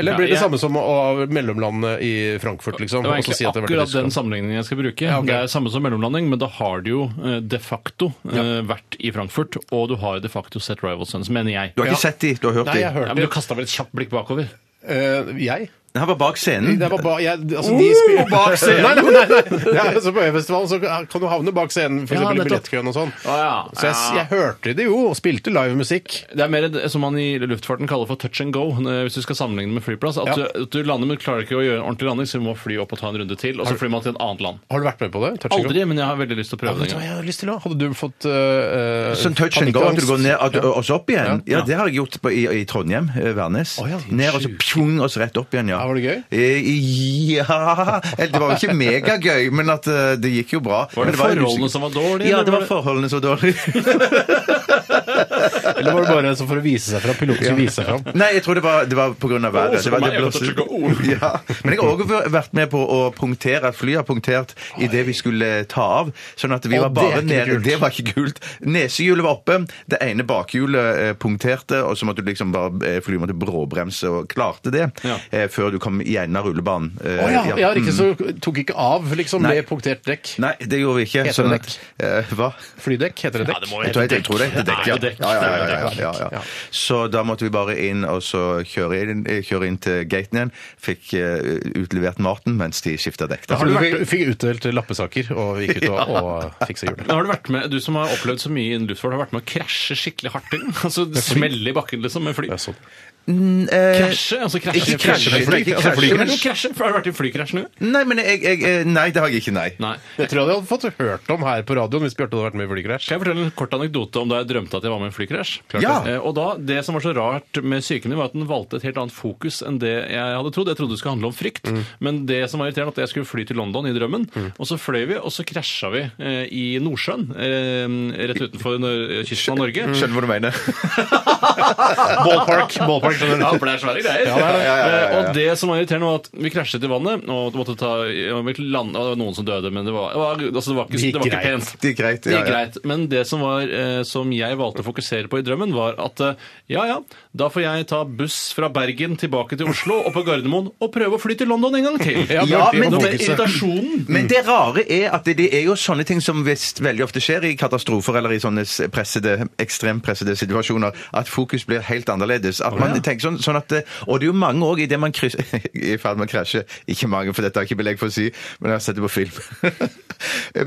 Eller Ja, blir det jeg- samme som å å mellomlande i Frankfurt, liksom? Det var og så egentlig si at jeg har vært i akkurat den Tyskland? sammenligningen jeg skal bruke. ok. Det er samme som mellomlanding, men da har du jo eh, de facto eh, vært i Frankfurt, og du har de facto sett Rival Sons, mener jeg. Du har Ja. ikke sett de, du har hørt Nei, jeg de. Ja, hørte men du kasta vel et kjapt blikk bakover? Eh, Jeg? Han var bak scenen. Det var bare jeg, altså, de skulle Oh, bak scenen. Nei, nei, nei, nei. Det er, altså, på Øyafestivalen så kan du havne bak scenen, f.eks. Ja, eksempel i nettopp. billettkøen og sånn. Å, ja. Så jeg, s- jeg hørte det jo, og spilte live musikk. Det er mer det som man i luftfarten kaller for touch and go, eh, hvis du skal sammenligne med flyplass. At, Ja. du, at du lander, men klarer ikke å gjøre en ordentlig landing, så du må fly opp og ta en runde til, og så flyr man til et annet land. Har du vært med på det? Touch and go? Aldri, men jeg har veldig lyst til Ja, å prøve vet det. du hva en gang. jeg hadde lyst til da? Hadde du fått eh, Sånn touch and go, at du går ned at, og så opp igjen. Ja, det har jeg gjort på, i, i Trondheim, eh, Værnes. Å ja. Ned og så pjong, og så rett opp igjen, ja. Ja, Var det gøy? Eh, Ja Eller det var jo ikke megagøy, men at eh, det gikk jo bra. Var Men det jo forholdene usikkert. som var dårlige? Ja, eller det var forholdene så dårlige. Eller var det bare sånn for å vise seg fram? Piloten skulle vise seg fram. Nei, jeg tror det var, det var pga. været. Å, så Det var kom det jeg, jeg blåste- måtte trykke O. ja. Men jeg har òg vært med på å punktere, at flyet har punktert idet vi skulle ta av. Sånn at vi Å, var det er bare ikke noe nede. kult. Det var ikke kult. Nesehjulet var oppe, det ene bakhjulet eh, punkterte, og så måtte du liksom bare eh, flyet måtte bråbremse og klarte det Ja. eh, før du kom igjen av rullebanen. Eh, Å ja, ja. ja, riktig. Så tok ikke av, liksom, Nei. med punktert dekk. Nei, det gjorde vi ikke. Heter Sånn det at, eh, hva? Flydekk, heter det dekk? det må Jeg tror, jeg, jeg tror det heter dekk, ja. Det er jo dekk. Ja, ja, ja, ja, Det er ja, jo dekk. ja. Så da måtte vi bare inn og så kjøre inn, eh, kjøre inn til gaten igjen. Fikk eh, utlevert maten mens de skifta dekk. Da. Har du vært, fikk utdelt lappesaker og gikk ut og, og fiksa hjulet. Men Har du vært med, Du som har opplevd så mye innen luftfart, har vært med å krasje skikkelig hardt til? Altså smelle i bakken liksom med fly? Det er sånn. Eh, Krasje? altså krasje Ikke krasje med fly, ikke Altså, krasje med- men jo, krasje. Har du vært i flykrasj nå? Nei, men jeg, jeg eh, Nei, det har jeg ikke, nei. Nei. Det tror jeg de hadde fått hørt om her på radioen hvis Bjarte hadde vært med i flykrasj. Skal jeg fortelle en kort anekdote om da jeg drømte at jeg var med i en flykrasj? Ja. Eh, Og da, Det som var så rart med psyken min, var at den valgte et helt annet fokus enn det jeg hadde trodd. Jeg trodde det skulle handle om frykt, men det som var irriterende, at jeg skulle fly til London i drømmen, og så fløy vi, og så krasja vi eh, i Nordsjøen, eh, rett utenfor Nor- kysten av Norge. Skjønner hva du mener. Ballpark. ballpark skjønner du. Ja, for det er svære greier. ja, ja, ja, ja. Eh, Og det som var irriterende, var at vi krasjet i vannet, og måtte ta, og vi land, og det var noen som døde, men det var, det var, altså, det var ikke, Det gikk det var ikke greit. pent. Det er greit. Det Ja, er ja. greit, men det som, var, eh, som jeg valgte å fokusere på i drømmen, var at eh, ja, ja, da får jeg ta buss fra Bergen tilbake til Oslo og på Gardermoen og prøve å fly til London en gang til. Ja, Ja, men- men det den var fokuset. irritasjonen Men det rare er at det, det er jo sånne ting som visst veldig ofte skjer i katastrofer eller i sånne s- pressede, ekstremt pressede situasjoner, at fokus blir helt annerledes. At man tenker sånn, sånn at, eh, og det er jo mange òg i det man krysser I ferd med å krasje. Ikke mange, for dette har jeg ikke belegg for å si, men jeg har sett det på film.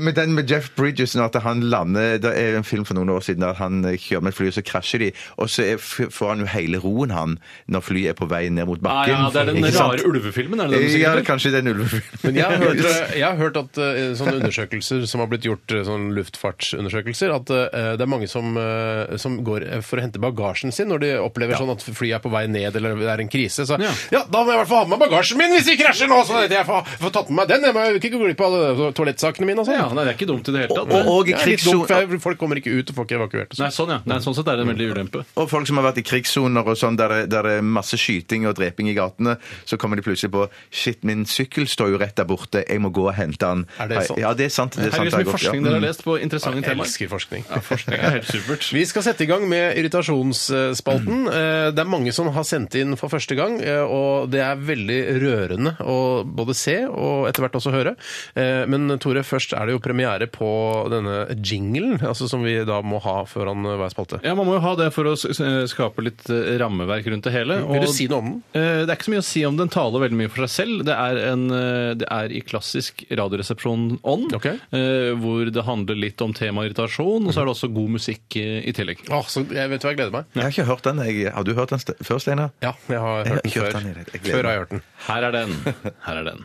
men den med Jeff Bridges, når at han lander Det er en film for noen år siden der han eh, kjører med et fly, og så krasjer de, og så er, f- får han jo hele roen, han, når flyet er på vei ned mot ah, bakken. ja, Det er den Ikke sant? rare ulvefilmen, er det den du Ja, sikkert? kanskje den ulvefilmen. Men jeg har hørt, jeg har hørt at eh, sånne undersøkelser som har blitt gjort, eh, sånne luftfartsundersøkelser, at eh, det er mange som, eh, som går eh, for å hente bagasjen sin når de opplever sånn at flyet er på vei ned eller det er en krise. Så ja, Ja. da må jeg i hvert fall ha med meg bagasjen min hvis vi krasjer nå! Så jeg får, får tatt med meg den. Jeg må jo ikke gå glipp av alle toalettsakene mine og sånn. Ja, nei, det er ikke dumt i det hele tatt. Og- og- Det er litt dumt, krigszone- for folk kommer ikke ut og får ikke evakuert. og Nei, sånn. sånn, ja. Nei, sånn sett er det en veldig ulempe. Og folk som har vært i krigssoner og sånn, der, det- der det er masse skyting og dreping i gatene, så kommer de plutselig på Shit, min sykkel står jo rett der borte, jeg må gå og hente den. Er det sant? Ja, det er sant. Det Her er sant er det så har mye gått, ja. mm. forskning dere har lest på interessante Jeg temaer. elsker forskning. Ja, forskning er helt supert. Vi skal sette i gang med Mm. irritasjonsspalten. Eh, Det er mange som har sendt inn for første gang, eh, og det er veldig rørende å både se og etter hvert også høre. Eh, Men Tore, først er det jo premiere på denne jinglen, altså som vi da må ha foran hver spalte. Ja, Man må jo ha det for å s- s- skape litt eh, rammeverk rundt det hele. Vil du si noe om den? Eh, Det er ikke så mye å si om den. Den taler veldig mye for seg selv. Det er, en, eh, det er i klassisk Radioresepsjon-ånd, Ok. eh, hvor det handler litt om tema irritasjon, og så er det også god musikk eh, i tillegg. Åh, så jeg vet du hva, jeg gleder meg. Jeg har ikke hørt den. Jeg, har du hørt den st- før, Steinar? Ja, jeg har hørt den Jeg har før. hørt den, jeg gleder meg. Før har jeg hørt den. Her er den. Her er den.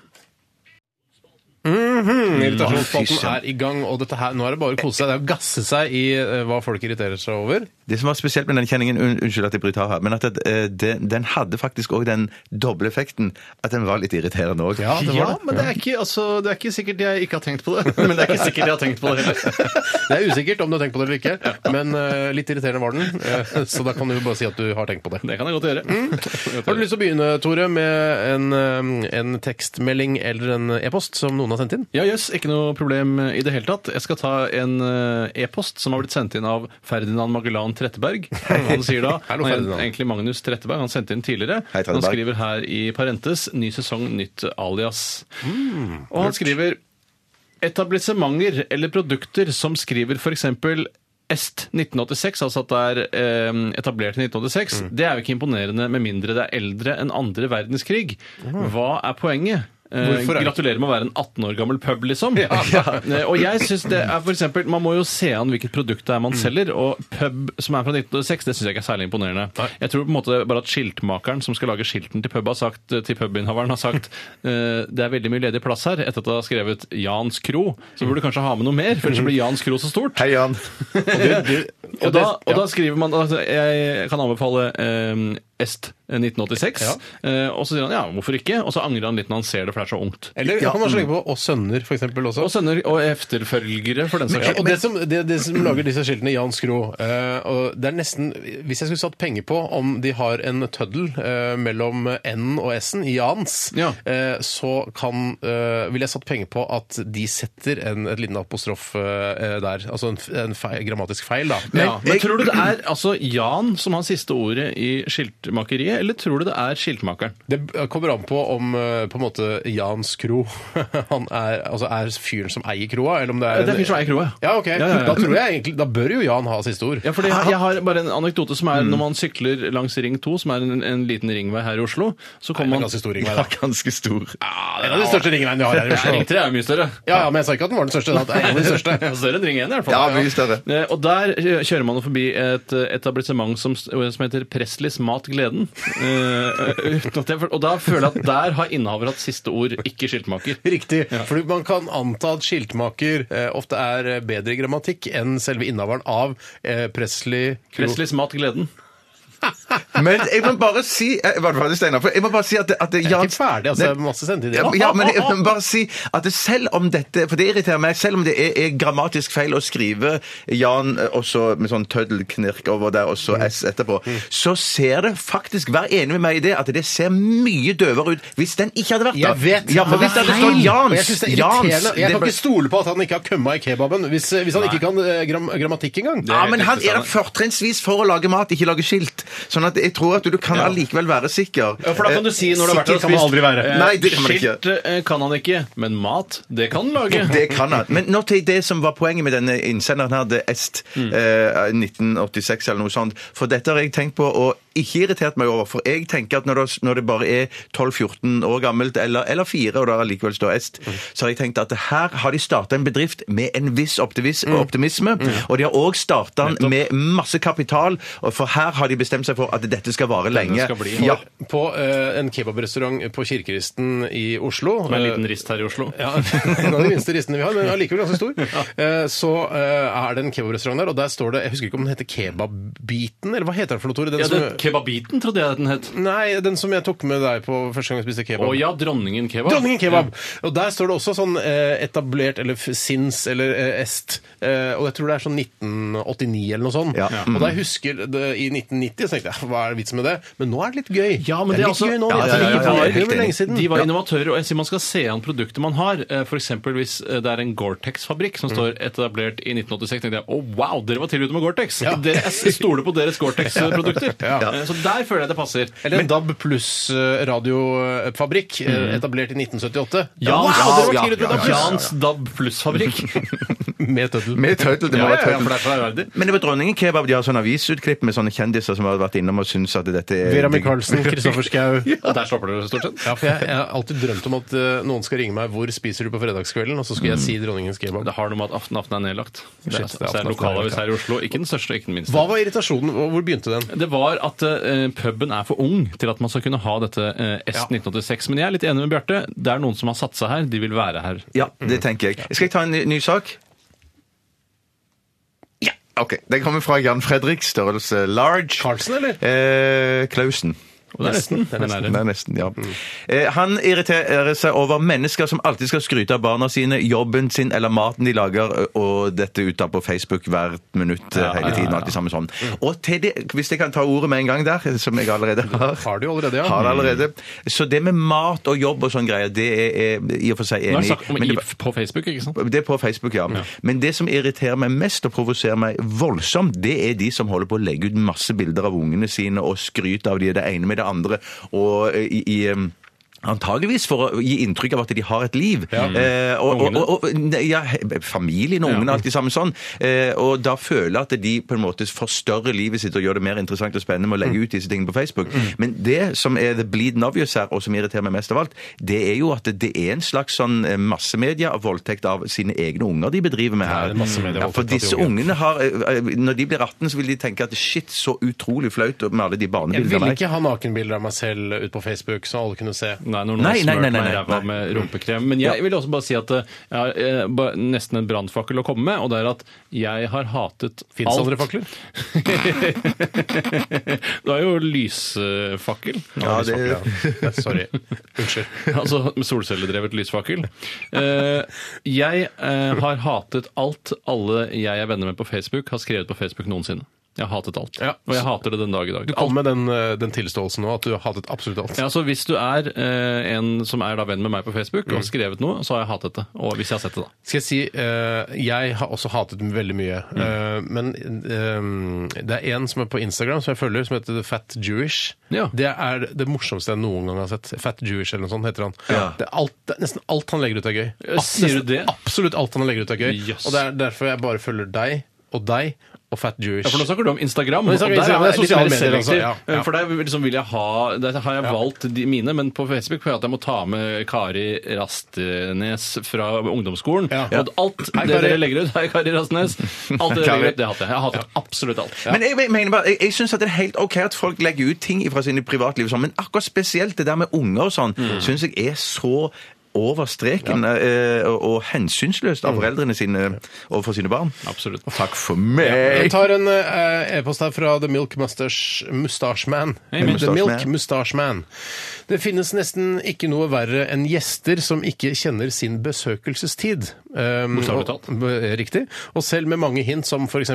Mhm, Irritasjonsspalten søren. er i gang, og dette her, nå er det bare å kose seg. Det er å gasse seg i eh, hva folk irriterer seg over. Det som var spesielt med den kjenningen un, Unnskyld at jeg bryter av her, men at eh, den, den hadde faktisk òg den doble effekten at den var litt irriterende òg. Ja, det var det. men det er, ikke, altså, det er ikke sikkert jeg ikke har tenkt på det. Men det er ikke sikkert jeg har tenkt på det heller. Det er usikkert om du har tenkt på det eller ikke, men eh, litt irriterende var den. eh, så da kan du jo bare si at du har tenkt på det. Det kan jeg godt gjøre. Har du lyst til å begynne, Tore, med en, eh, en tekstmelding eller en e-post som noen har sendt inn? Ja, jøss. ikke noe problem i det hele tatt. Jeg skal ta en eh, e-post som har blitt sendt inn av Ferdinand Magellan Tretteberg. Han sier da Hallo, han er Ferdinand. Egentlig Magnus Tretteberg. Han sendte inn tidligere. Hei, Tretteberg. han skriver her i parentes 'Ny sesong, nytt alias'. Og han skriver etablissementer eller produkter som skriver f.eks. Est 1986, altså at det er eh, etablert i 1986, Mm. det er jo ikke imponerende med mindre det er eldre enn andre verdenskrig. Hva er poenget? Eh, Hvorfor er det- gratulerer med å være en 18 år gammel pub, liksom. Eh, og jeg synes det er for eksempel, Man må jo se an hvilket produkt det er Mm. man selger, og pub som er fra 1906, det syns jeg ikke er særlig imponerende. Jeg tror på en måte bare at skiltmakeren som skal lage skilten til pub, har sagt, til pubinnehaveren har sagt eh, det er veldig mye ledig plass her, etter at det har skrevet Jans Kro. Så burde du kanskje ha med noe mer, for ellers så blir Jans Kro så stort. Hei, Jan. Og, du, du, Og da, og ja. da skriver man altså, Jeg kan anbefale eh, Est eh, 1986. Eh, og så sier han ja, hvorfor ikke? Og så angrer han litt når han ser det, for det er så ungt. Eller jeg kan også legge på 'og sønner', for eksempel også. Og sender og efterfølgere, for den saks og skyld. det som, det, det som lager disse skiltene, Jan Skro eh, og Det er nesten Hvis jeg skulle satt penger på om de har en tøddel eh, mellom N-en og S-en, i Jans, Ja. eh, så kan eh, Ville jeg satt penger på at de setter en, et liten apostrof eh, der. Altså en, f- en feil, grammatisk feil, da. Ja, men Tror du det er altså Jan som har siste ordet i skiltmakeriet, eller tror du det er skiltmakeren? Det kommer an på om eh, på en måte Jans Kro han er, altså er fyren som eier kroa, eller om det er Det er fyren som eier kroa. Ja, ok. ja, ja. Da tror jeg egentlig, da bør jo Jan ha siste ord. Ja, fordi jeg, jeg har bare en anekdote som er når man sykler langs Ring 2, som er en, en liten ringvei her i Oslo, så Det er kommer en man ganske stor ringvei, Ja, da. ganske stor. En av de største ringveiene vi har her i Ja, Oslo. Ring 3 er jo mye større. Ja, ja, men jeg sa ikke at den var den største. Det er en av de største. Større enn Ring 1 i hvert fall. Ja, mye større. Eh, Og der eh, kjører man forbi et eh, etablissement som, eh, som heter Presleys Mat Gleden. Eh, uten at jeg, for- og da føler jeg at der har innehaver hatt siste ord, ikke skiltmaker. Riktig. For man kan anta at skiltmaker eh, ofte er eh, bedre i grammatikk enn selve innehaveren av eh, Presley Kro. Presleys Mat Gleden. Men jeg må bare si eh, Hva var det, Steinar? For Jeg må bare si at, det- at det- Jeg Jan- er ikke ferdig, altså. Nei. Det er masse sendetid. Ja, ja, men jeg må bare si at det selv om dette For det irriterer meg. Selv om det er, er grammatisk feil å skrive Jan eh, også med sånn tøddelknirk over der og Mm. så S etterpå, så ser det faktisk Vær enig med meg i det at det ser mye døvere ut hvis den ikke hadde vært der. Jeg vet, ja, for men hvis det hadde feil. stått Og Jeg, Jans synes det er Jans, irriterende. jeg det kan ble- ikke stole på at han ikke har kømma i kebaben hvis, hvis han ikke kan eh, gram, grammatikk engang. Ja, men han Steinar. er der fortrinnsvis for å lage mat, ikke lage skilt. Sånn at jeg tror at du kan allikevel være sikker. Ja, for da kan du si når du har vært Sikker der og kan man aldri være. eh, Nei, det kan man ikke. Skilt eh, kan han ikke, men mat, det kan han lage. Det kan han. Men nå til det som var poenget med denne innsenderen her, det er Est Mm. eh, 1986 eller noe sånt. For dette har jeg tenkt på og ikke irritert meg over. For jeg tenker at når det, når det bare er 12-14 år gammelt, eller, eller 4, og det allikevel står Est, Mm. så har jeg tenkt at her har de starta en bedrift med en viss optimis Mm. optimisme. Og de har òg starta den med masse kapital, og for her har de bestemt seg for at dette skal vare lenge. skal bli. Ja. På eh, en kebabrestaurant på Kirkeristen i Oslo Med en eh, liten rist her i Oslo. Ja, en av de minste ristene vi har, men allikevel ganske stor. Eh, Så eh, er det en kebabrestaurant der, og der står det Jeg husker ikke om den heter Kebabbiten, eller hva heter den for noe, Tore? Den Ja, det, som, kebabiten trodde jeg den het. nei, den som jeg tok med deg på første gang jeg spiste kebab. Å ja, dronningen kebab. Dronningen kebab! Og der står det også sånn eh, etablert, eller f- sinns, eller eh, est. Eh, og jeg tror det er sånn 1989 eller noe sånt. Ja. Og da jeg husker det, i 1990, så tenkte jeg hva er vitsen med det? Men nå er det litt gøy. Ja, men det er litt altså- gøy nå. Ja, vi- ja, ja, ja, vi var- jeg er det helt var lenge enig. siden. De var innovatører, og jeg sier man skal se an produktet man har. F.eks. hvis eh, det er en Gore-Tex-fabrikk Mm. som står etablert i 1986, tenkte jeg å wow, dere var tidlig ute med Gore-Tex! Ja. Dere- Jeg stoler på deres Gore-Tex-produkter. Eh, Så der føler jeg det passer. Eller en DAB pluss eh, radiofabrikk, eh, Mm. etablert i 1978. Jans, wow, det var ja, tidlig til ja, DAB+! ja, Jans DAB pluss-fabrikk. Med tøddel. Med tøddel, det må Ja, være ja, ja, tøddel. for det er så ærverdig. Men det var Dronningen Kebab de har sånn avisutklipp med sånne kjendiser som har vært innom og syns at dette er Vera Michaelsen, Kristoffer Schau. Og der stopper det stort sett. Ja, for jeg, jeg har alltid drømt om at eh, noen skal ringe meg 'Hvor spiser du på fredagskvelden?' og så Mm. skal jeg si 'Dronningens kebab'. Det har noe med at Aften Aften er nedlagt. Shit, det er Det er, så er Aften det Aften er lokalavis nedlagt, her i Oslo. Ikke den største, ikke den minste. Hva var irritasjonen? Hvor hvor begynte den? Det var at eh, puben er for ung til at man skal kunne ha dette eh, S1986. Men jeg er litt enig med Bjarte. Det er noen som har satsa her. De vil være her. Ja, det tenker jeg. Skal jeg ta en ny, ny sak? Ja! Ok. Den kommer fra Jan Fredrik, størrelse large. Carlsen, eller? Eh, Klausen. Og det er nesten. Det er nesten. Men er det. Nei, nesten, ja. Eh, han irriterer seg over mennesker som alltid skal skryte av barna sine, jobben sin eller maten de lager, ø- og dette ut av på Facebook hvert minutt eh, Ja, ja, hele tiden. og alt det samme sånn. Og til det, hvis jeg kan ta ordet med en gang der, som jeg allerede har Har du allerede, ja. Har det allerede. Så det med mat og jobb og sånn greier, det er, er i og for seg Nå er enig det snakk om Men det- IF på Facebook, ikke sant? det er på Facebook, ja. Men det som irriterer meg mest og provoserer meg voldsomt, det er de som holder på å legge ut masse bilder av ungene sine og skryter av de det ene med det andre. og eh, i... i em, Antageligvis for å gi inntrykk av at de har et liv. Eh, og, og, og, og, ne- ja, he- familien og ungene, alt de sammen sånn. Eh, og da føler jeg at de på en måte forstørrer livet sitt og gjør det mer interessant og spennende med å Mm. legge ut disse tingene på Facebook. Men det som er the bleeding obvious her, og som irriterer meg mest av alt, det er jo at det er en slags sånn eh, massemedia av voldtekt av sine egne unger de bedriver med Ja, det her. er massemedia Ja, voldtekt for av de disse unge. ungene har eh, eh, Når de blir 18, så vil de tenke at shit, så utrolig flaut med alle de Jeg barnebildene ville av meg. ikke ha nakenbilder av meg selv ut på Facebook, så alle kunne se. Nei, når noen Nei, nei, har smørt nei, nei, meg i nei. ræva med rumpekrem. Men jeg vil også bare si at eh, jeg har eh, ba- nesten en brannfakkel å komme med, og det er at jeg har hatet Fins alt. andre fakler? det er jo lysfakkel. Ja, det, Ja, Sorry. Unnskyld. altså med solcelledrevet lysfakkel. Eh, jeg eh, har hatet alt alle jeg er venner med på Facebook, har skrevet på Facebook noensinne. Jeg har hatet alt. Ja. Og jeg hater det den dag i dag. Du kom med den, eh, den tilståelsen nå, at du hatet absolutt alt. Ja, så Hvis du er eh, en som er da venn med meg på Facebook og har skrevet noe, så har jeg hatet det. Og hvis jeg har sett det, da. Skal jeg si eh, Jeg har også hatet den veldig mye. Mm. Eh, men eh, det er en som er på Instagram som jeg følger, som heter The Fat Jewish. Ja. Det er det morsomste jeg noen gang har sett. Fat Jewish eller noe sånt heter han. Det er alt, det er nesten alt han legger ut, er gøy. Ja, sier du Nesten det? Absolutt alt han legger ut, er gøy. Yes. Og det er derfor jeg bare følger deg og deg og Fat Jewish. Ja, for nå snakker du om Instagram. Nå snakker vi og Instagram, der er jeg det er litt sosiale mer medier også, selektiv. ja, ja. For der, liksom vil jeg ha, der har jeg valgt de mine, men på Facebook får jeg at jeg må ta med Kari Rastenes fra ungdomsskolen. Ja. Og alt Hei, Kari. det dere legger ut Hei, Kari Rastenes. Alt det dere Kari. legger ut, det hater jeg. Jeg hater absolutt alt. Men jeg, jeg mener bare, jeg, jeg syns det er helt OK at folk legger ut ting fra sine privatliv, og sånn, men akkurat spesielt det der med unger og sånn, syns jeg er så over streken eh, og, og hensynsløst av foreldrene sine overfor sine barn. Absolutt. Takk for Jeg meg! tar en eh, e-post her fra The Milk Mustache, Mustache Man. Hei, The Mustache Milk Man. Mustache Man. Det finnes nesten ikke noe verre enn gjester som ikke kjenner sin besøkelsestid. Um, Bokstavelig og- talt. b- Riktig. Og selv med mange hint som f.eks.: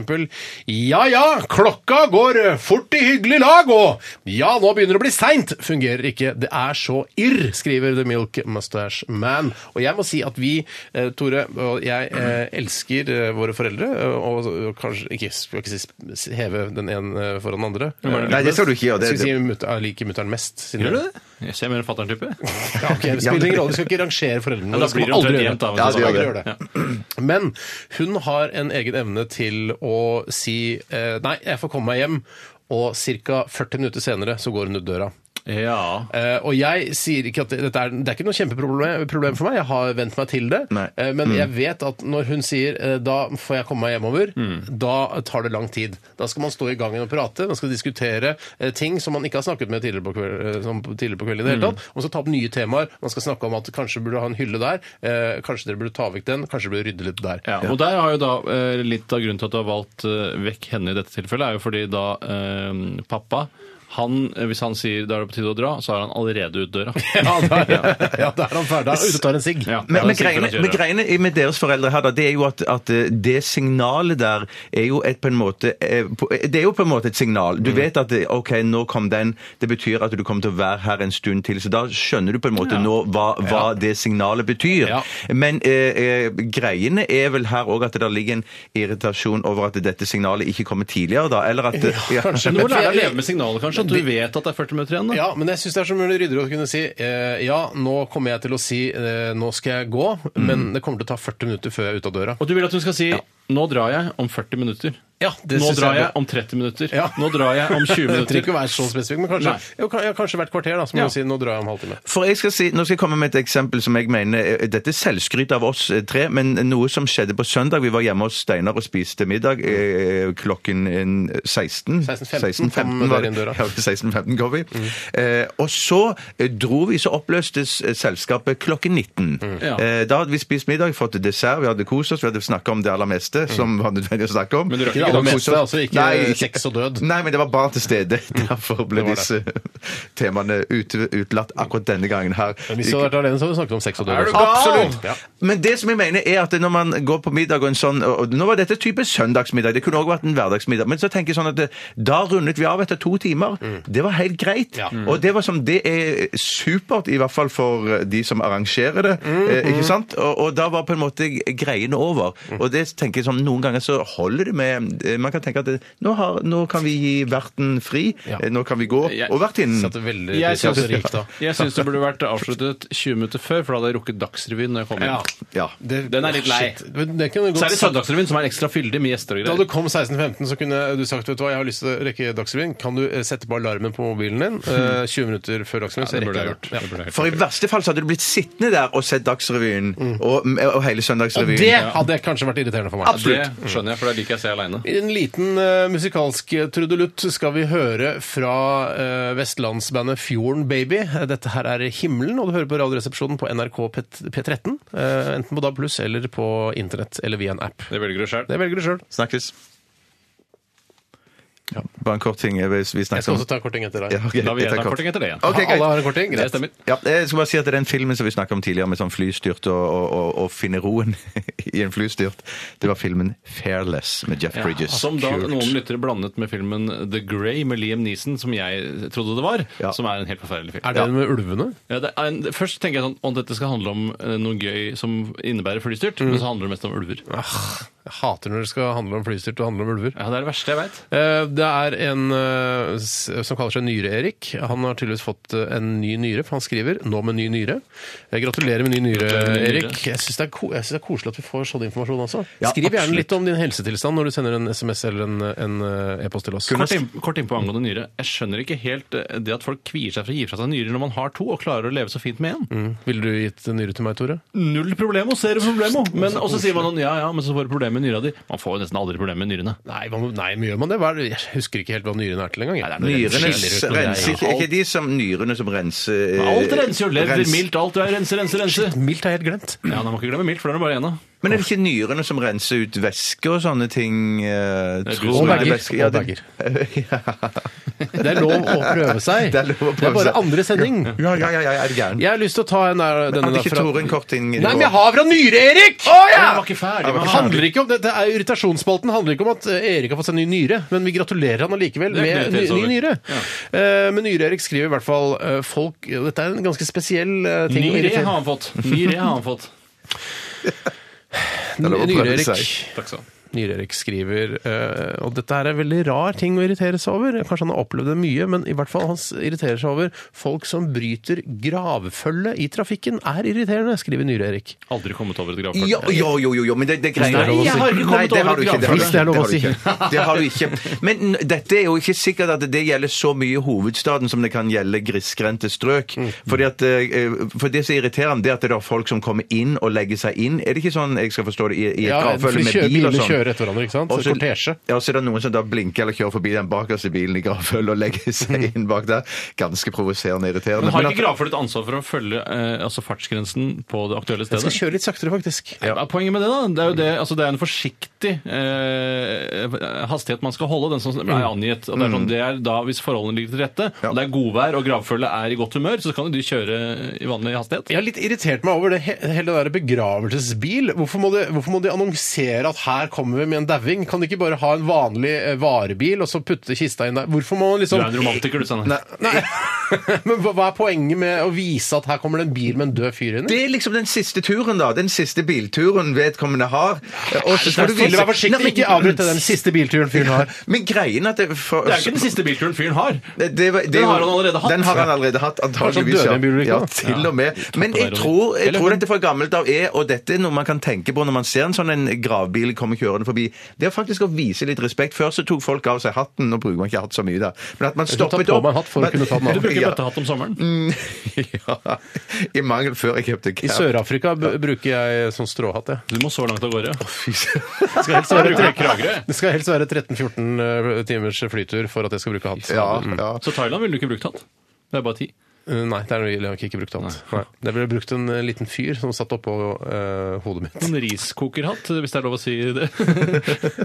Ja ja, klokka går fort i hyggelig lag, og ja, nå begynner det å bli seint, fungerer ikke. Det er så irr, skriver The Milk Mustache Man. Og jeg må si at vi, eh, Tore og jeg, eh, elsker eh, våre foreldre, eh, og og kanskje ikke, skal ikke si, s- heve den ene eh, foran den andre. Nei, det skal du ikke gjøre. Det- Skal vi si mut- jeg liker mutter'n mest? siden- Gjør du det? Jeg ser mer fatter'n-type. Ja, ok, det spiller ingen rolle, vi skal ikke rangere foreldrene. Ja, da skal man blir det omtrent aldri gjøre. jevnt, da, hvis Ja, det skal man er sånn. gjøre det. Men hun har en egen evne til å si eh, nei, jeg får komme meg hjem, og ca. 40 minutter senere så går hun ut døra. Ja. Eh, og jeg sier ikke at dette er, det er ikke noe kjempeproblem problem for meg, jeg har vent meg til det. Nei. Eh, men jeg vet at når hun sier eh, 'da får jeg komme meg hjemover', da tar det lang tid. Da skal man stå i gangen og prate, man skal diskutere eh, ting som man ikke har snakket med tidligere på, kveld, eh, som på- tidligere på kvelden i det hele tatt. Man skal ta opp nye temaer, man skal snakke om at kanskje burde du ha en hylle der, eh, kanskje dere burde ta vekk den, kanskje dere burde rydde litt der. Ja, og der har jo da eh, Litt av grunnen til at du har valgt eh, vekk henne i dette tilfellet, er jo fordi da eh, pappa han, eh, Hvis han sier da er det på tide å dra, så er han allerede ut døra. Ja, da ja, da er han ferdig. Da er han ute og tar en sigg. Ja, Men, ja, men, det er sikkert greiene, at jeg men gjør det. greiene i- med deres foreldre her, da, det er jo at, at eh, det signalet der er jo et, på en måte eh, på- Det er jo på en måte et signal. Du Mm. vet at eh, OK, nå kom den. Det betyr at du kommer til å være her en stund til. Så da skjønner du på en måte nå hva, hva det signalet betyr. Ja. Men eh, eh, greiene er vel her òg at det der ligger en irritasjon over at dette signalet ikke kommer tidligere, da. Eller at ja. Men du må lære å leve med signalet, kanskje. At du vet at det er 40 minutter igjen. Da. Ja, men jeg syns det er så mye ryddigere å kunne si eh, ja, nå kommer jeg til å si eh, nå skal jeg gå, Mm. men det kommer til å ta 40 minutter før jeg er ute av døra. Og du vil at hun skal si 'nå drar jeg om 40 minutter'. Ja, det Nå synes drar jeg er jeg om 30 minutter. Ja. Nå drar jeg om 20 Det trenger minutter. ikke å være så spesifikk, men kanskje, Nei. jo, kan- ja, kanskje hvert kvarter. da, så må Ja. du si nå drar jeg om halvtime. For jeg skal si, Nå skal jeg komme med et eksempel som jeg mener eh, Dette er selvskryt av oss eh, tre, men noe som skjedde på søndag. Vi var hjemme hos Steinar og spiste middag eh, klokken eh, 16. 16.15 16.15 var kom dere inn det. døra. Mm. Ja, 16.15 kom vi. Eh, og så eh, dro vi, så oppløstes eh, selskapet klokken 19. Mm. Ja. Eh, da hadde vi spist middag, fått dessert, vi hadde kost oss, vi hadde snakka om det aller meste Mm. som var nødvendig å snakke om. Men du rakk ikke Ikke det da aller Kost meste, oss. altså ikke Nei, sex og død. Nei, men det var barn til stede. Derfor ble var det. disse eh, temaene ut, utelatt akkurat denne gangen her. Men Hvis du hadde vært alene, så hadde du snakket om sex og død. Er du også. gal? Absolutt! Ja. Men det som jeg mener er at når man går på middag og en sånn og og Nå var dette type søndagsmiddag, det kunne også vært en hverdagsmiddag. Men så tenker jeg sånn at det, da rundet vi av etter to timer. Det var helt greit. Mm. Ja. Og det var som, det er supert, i hvert fall for eh, de som arrangerer det. eh, Mm-hmm. Ikke sant? Og, og da var på en måte greiene over. Mm. Og det tenker jeg sånn, noen ganger så holder det med eh, Man kan tenke at eh, nå, har, nå kan vi gi verten fri. Ja. eh, Nå kan vi gå. Jeg- Og vertinnen. Satt veldig Jeg satt synes- rikt da. Jeg syns det burde vært avsluttet 20 minutter før, for da hadde jeg rukket Dagsrevyen når jeg kom hjem. Ja. Det- Den er litt lei. Shit. Men Det kunne Så er det gått Søndagsrevyen som er ekstra fyldig med gjester og Da du greier. kom 16.15, så kunne du sagt vet du hva, jeg har lyst til å rekke Dagsrevyen. Kan du eh, sette på alarmen på mobilen din eh, 20 minutter før Dagsrevyen? så Det burde jeg rekker gjort. jeg Det burde jeg gjort. For i verste fall så Mm. hadde du blitt sittende der og sett Dagsrevyen og, og hele den. Søndagsrevyen. Det hadde kanskje vært irriterende for meg. absolutt. Det skjønner jeg, for da liker jeg å se aleine. I en liten eh, musikalsk trudelutt skal vi høre fra eh, vestlandsbandet Fjorden Baby. Eh, Dette her er Himmelen, og du hører på Radioresepsjonen på NRK P P13. eh, enten på DAB pluss eller på internett eller via en app. Det velger du sjøl. Det velger du sjøl. Snakkes. Bare en kort ting. eh, hvis Vi Jeg snakker skal om også ta korting etter deg. Ja, ok, Da vil jeg jeg tar ta kort. korting etter det igjen. Ok, greit. Alle har en korting? Det stemmer. Ja, eh, jeg skal bare si at den filmen som vi snakket om tidligere, med sånn flystyrt og, og, og, og finne roen i en flystyrt, det var filmen 'Fairless' med Jeff Bridges. Som altså, da Kult. noen lyttere blandet med filmen The Grey med Liam Neeson, som jeg trodde det var, Ja. som er en helt forferdelig film. Er det den med ulvene? Ja, det er en, først tenker jeg sånn om dette skal handle om eh, noe gøy som innebærer flystyrt, men så handler det mest om ulver. Ja, Ah, Jeg hater når det skal handle om flystyrt og handle om ulver. Det er det verste jeg veit. Eh, Det er en eh, s- som kaller seg Nyre-Erik. Han har tydeligvis fått eh, en ny nyre, for han skriver 'nå med ny nyre'. Eh, Gratulerer med ny nyre, Gratulerer med ny nyre. Erik. Jeg syns det, er ko- jeg synes det er koselig at vi får sånn informasjon også. Ja, Skriv gjerne absolutt. litt om din helsetilstand når du sender en SMS eller en, en eh, e-post til oss. Kort, inn, kort innpå angående nyre. Jeg skjønner ikke helt eh, det at folk kvier seg for å gi fra seg nyrer når man har to, og klarer å leve så fint med én. Mm. Ville du gitt nyre til meg, Tore? Null problemo, ser du problemo. Men også sier man sånn ja ja, men så får du problemer med nyra di. Man får jo nesten aldri problemer med nyrene. Nei, man, nei, men gjør man det? Hva er det? Jeg husker ikke helt hva nyrene er til engang. jeg. Nei, det er noe Nyrene Skiller ut noe renser greier. ikke Er ikke de som nyrene som renser eh, Alt renser jo. Lever, rens- mildt, alt. du er Rense, rense, rense. Mildt har jeg helt glemt. Ja, da må ikke glemme mildt, for da er det bare igjen, da. Men er det ikke nyrene som renser ut væske og sånne ting? eh, Det er tror du som er- jeg? Det væske- ja, Og det- bager. Ja. Det er lov å prøve seg. Det er lov å Det prøve er bare seg. andre sending. Ja, ja, ja, ja, er du gæren? Jeg har lyst til å ta en der, denne Hadde ikke derfra. Tore en kort ting? i Nei, går? men jeg har fra Nyre-Erik! Oh, Jeg var ikke ferdig. Det med han. handler ikke om, det, det er jo Irritasjonsspalten handler ikke om at eh, Erik har fått seg ny nyre, men vi gratulerer han allikevel Det med gleder vi ny, oss ny over. nyre. Ja. Eh, men Nyre-Erik skriver i hvert fall eh, folk Dette er en ganske spesiell eh, ting. å Nyre irritere- har han fått. Nyre har han fått. er lov å prøve Nyre-Erik seg. Takk skal du ha. Nyre-Erik skriver eh, Og dette er en veldig rar ting å irritere seg over. Kanskje han har opplevd det mye, men i hvert fall han s- irriterer seg over folk som bryter gravfølge i trafikken. Er irriterende, skriver Nyre-Erik. Aldri kommet over et gravfølge. Jo, jo, jo, jo, jo, men det, det greier Nei, jeg har ikke kommet Nei, det har du over ikke, det har du gravfølge. Det er lov å ikke, har du ikke. Det har du ikke. Men n- dette er jo ikke sikkert at det gjelder så mye i hovedstaden som det kan gjelde grisgrendte strøk. Fordi at, eh, for det som irriterer meg, det er at det er folk som kommer inn og legger seg inn. Er det ikke sånn jeg skal forstå det, i, i et for gravfølge de med kjører, bil og bilene sånn? kjører etter hverandre, ikke sant? Og så- Kortesje. Ja, så er det noen som da blinker eller kjører forbi den bakerste bilen i gravfølget og legger seg inn bak der. Ganske provoserende og irriterende. Men har Men at- ikke gravfølge et ansvar for å følge eh, altså fartsgrensen på det aktuelle Jeg skal stedet? kjøre litt saktere, faktisk. Ja. Hva er Poenget med det, da? Det er jo det, altså det er en forsiktig eh, hastighet man skal holde. Den som er angitt. Og det er sånn, det er da, hvis forholdene ligger til rette, og det er godvær og gravfølge er i godt humør, så kan jo de kjøre i vanlig hastighet. Jeg har litt irritert meg over det, he- hele det der begravelsesbil. Hvorfor må, de, hvorfor må de annonsere at her kommer vi med en dauing? Kan de ikke bare ha en vanlig eh, varebil og så putte kista inn der? Hvorfor må man Du liksom er en romantiker, du, Sanne. Nei, nei. Men hva hva er poenget med å vise at her kommer det en bil med en død fyr inni? Det er liksom den siste turen, da. Den siste bilturen vedkommende har. Og så skal du altså, Ville vise være forsiktig, sånn- Nei, men- ikke avbryte den siste bilturen fyren har. Men greien at det, for, Det er jo ikke den siste bilturen fyren har. Det- det var- det er Den har jo- han allerede hatt. Den har han allerede hatt, antageligvis. døde i en bilulykke, ja, da. til og med. Men jeg det, tror, jeg Eller tror hun. dette fra gammelt av er, og dette er noe man kan tenke på når man ser en sånn en gravbil komme kjørende forbi, det er faktisk å vise litt respekt. Før så tok folk av seg hatten, nå bruker man ikke hatt så mye da. Men at man skal ta stoppet på opp meg en hatt for å Men- kunne ta den av. Du bruker Ja. Mm. bøttehatt om sommeren. ja. I mangel før jeg kjøpte I cap. Sør-Afrika b- bruker jeg sånn stråhatt, jeg. Du må så langt av gårde. Det skal helst Jeg bruker være, Kragerø. det skal helst være 13-14 timers flytur for at jeg skal bruke hatt. Mm. Ja, ja. Så Thailand ville du ikke brukt hatt. Det er bare ti. Uh, Nei, det er noe jeg har ikke brukt hatt. Nei. Det ble brukt en eh, liten fyr som satt oppå eh, hodet mitt. En riskokerhatt, hvis det er lov å si det.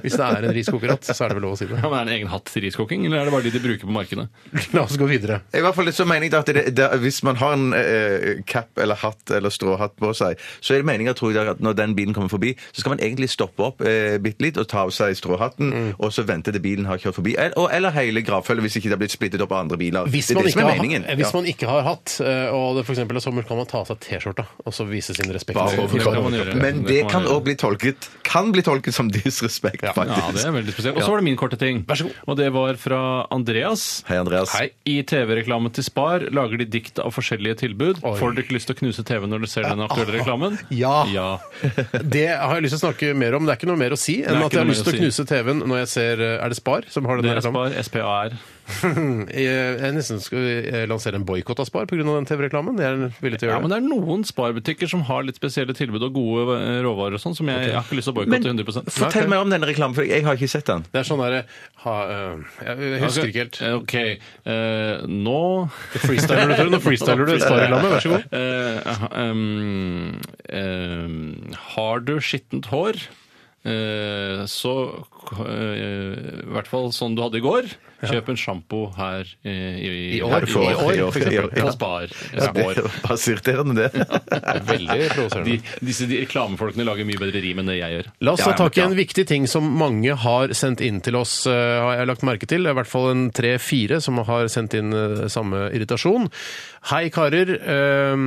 Hvis det er en riskokerhatt, så er det vel lov å si det. Ja, men Er det en egen hatt til riskoking, eller er det bare de de bruker på markedet? La oss gå videre. I hvert fall så mener jeg da at det, det, Hvis man har en eh, cap eller hatt eller stråhatt på seg, så er det meningen tror jeg, da, at når den bilen kommer forbi, så skal man egentlig stoppe opp eh, bitte litt og ta av seg stråhatten, og så vente til bilen har kjørt forbi. Eller, og, eller hele gravfølget, hvis ikke det har blitt splittet opp av andre biler. Hvis det er man, det ikke som er har, meningen. hvis Ja. man ikke har hatt, eh, og det for eksempel er sommer, kan man ta av seg T-skjorta og så vise sin respekt. Bare for- det kan man gjøre. Men Det det kan man kan gjøre. òg bli tolket kan bli tolket som disrespekt, Ja, det faktisk. er veldig spesielt. Og så var det min korte ting. Vær så god. Og det var fra Andreas. Hei, Andreas. Hei. I TV-reklamen til Spar lager de dikt av forskjellige tilbud. Får dere ikke lyst til å knuse TV når dere ser den aktuelle reklamen? Ja. Ah. ja. Det har jeg lyst til å snakke mer om. Det er ikke noe mer å si enn at jeg Det er ikke har noe lyst mer til å å knuse TV-en når jeg ser eh, Er det Spar som har den Det her? er reklamen? Eh, Spar. SPAR. Jeg jeg nesten skulle lansere en boikott av Spar pga. den TV-reklamen. Jeg er villig til å Ja, gjøre men det. det er noen sparbutikker som har litt spesielle tilbud og gode eh, råvarer og sånn, som jeg, jeg har ikke lyst til å boikotte 100 Fortell meg om denne reklamen, for jeg har ikke sett den. Det er sånn derre ha, øh, Jeg jeg husker ikke helt. Eh, Ok, eh, nå Freestyler du, Tore? Nå freestyler du Spar-reklamen. Vær så god. Eh, ehm, ehm, Har du skittent hår, eh, så eh, I hvert fall sånn du hadde i går, kjøp en sjampo her eh, i, I år, her i år, i år, for eksempel. i år, ja. På Spar. Ja, det Spar. er Bare irriterende, det. Veldig provoserende. De, disse de reklamefolkene lager mye bedre rim enn det jeg gjør. La oss Ja, ta ja, tak i ja. en viktig ting som mange har sendt inn til oss, eh, har jeg lagt merke til. Det er I hvert fall en tre-fire som har sendt inn eh, samme irritasjon. Hei, karer. Eh,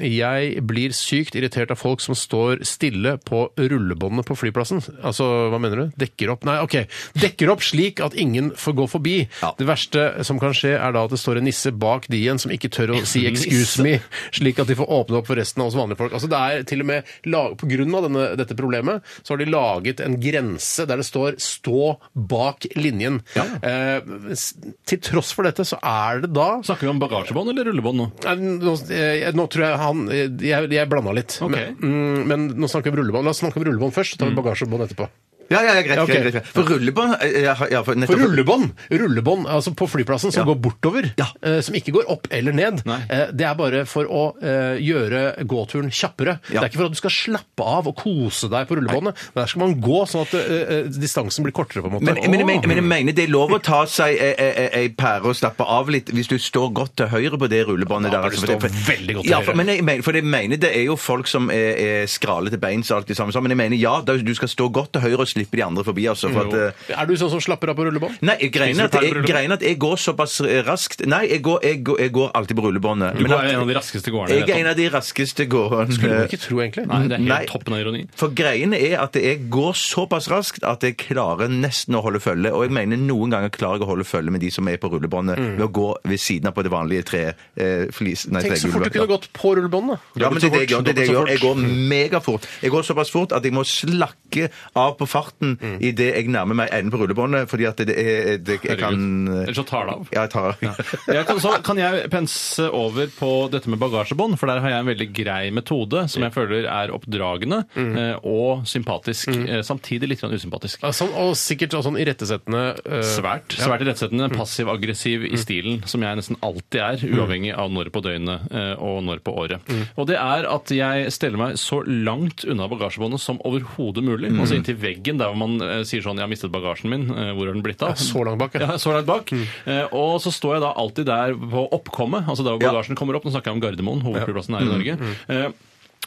Jeg blir sykt irritert av folk som står stille på rullebåndet på flyplassen. Altså, hva mener du? Dekker opp Nei, OK. Dekker opp slik at ingen får gå forbi. Ja. Det verste som kan skje, er da at det står en nisse bak de igjen som ikke tør å si 'excuse me', slik at de får åpne opp for resten av oss vanlige folk. Altså, det er til og med lag- På grunn av denne, dette problemet så har de laget en grense der det står 'stå bak linjen'. Eh, s- til tross for dette så er det da Snakker vi om bagasjebånd eller rullebånd nå? Nei, nå, eh, nå tror jeg han eh, Jeg, jeg blanda litt. Ok. Men, mm, men nå snakker vi om rullebånd. La oss snakke om rullebånd først, så tar vi bagasjebånd etterpå. Ja, ja, ja, greit, Ja, ok. greit, greit. For rullebånd eh, ja, ja, for For nettopp- rullebånd, rullebånd altså på flyplassen som går bortover, eh, som ikke går opp eller ned, Nei. eh, det er bare for å eh, gjøre gåturen kjappere. Ja. Det er ikke for at du skal slappe av og kose deg på rullebåndet. Der skal man gå sånn at eh, eh, distansen blir kortere, på en måte. Men, men, jeg men, men jeg mener det er lov å ta seg ei, ei, ei pære og slappe av litt hvis du står godt til høyre på det rullebåndet Ja, der. altså, du for står det- for- veldig godt til ja, for, høyre. men jeg mener, for jeg mener det er jo folk som er, er skrale til beins og alt det samme, sånn, men jeg mener ja, da, du skal stå godt til høyre og slippe de andre forbi. Altså, for at, eh, Er du sånn som slapper av på rullebånd? Nei, greien er Spiser du pære at på jeg, rullebånd? greien er at jeg går såpass raskt Nei, jeg går, jeg går, jeg går alltid på rullebåndet. Du Men er at- en av de raskeste gårdene. jeg vet er du. en av de raskeste gårdene. Det må du ikke tro, egentlig. Nei, det er helt Nei. toppen av ironi. For greien er at jeg går såpass raskt at jeg klarer nesten å holde følge. Og jeg mener noen ganger klarer jeg å holde følge med de som er på rullebåndet, ved å gå ved siden av på det vanlige tre, eh, flis, nei, Mm. Tenk så fort du tregulvet, kunne Mm. da. gått på rullebåndet. Sånn da. Ja, men det er det jeg gjør. Det er det Dobbelt jeg, så gjør. jeg fort. går megafort. Jeg går såpass fort at jeg må slakke av på farten Mm. idet jeg nærmer meg enden på rullebåndet, fordi at det er det, Jeg kan Herregud. Ellers så tar det av. Ja, jeg tar av. Jeg kan, så kan jeg pense over på dette med bagasjebånd, for der har jeg en veldig grei metode som jeg føler er oppdragende eh, og sympatisk, eh, samtidig litt grann usympatisk. Mm. Ja, sånn, og sikkert sånn irettesettende eh, Svært svært irettesettende, Mm. passiv-aggressiv i stilen, som jeg nesten alltid er, uavhengig av når på døgnet eh, og når på året. Mm. Og det er at jeg steller meg så langt unna bagasjebåndet som overhodet mulig, Mm. altså inntil veggen der hvor man eh, sier sånn 'jeg har mistet bagasjen min, eh, hvor er den blitt av?' Så langt bak, ja. Ja, jeg er så langt bak. Mm. Eh, og så står jeg da alltid der på oppkommet, altså der hvor Ja. bagasjen kommer opp. Nå snakker jeg om Gardermoen, hovedflyplassen her i Norge. Mm, Eh,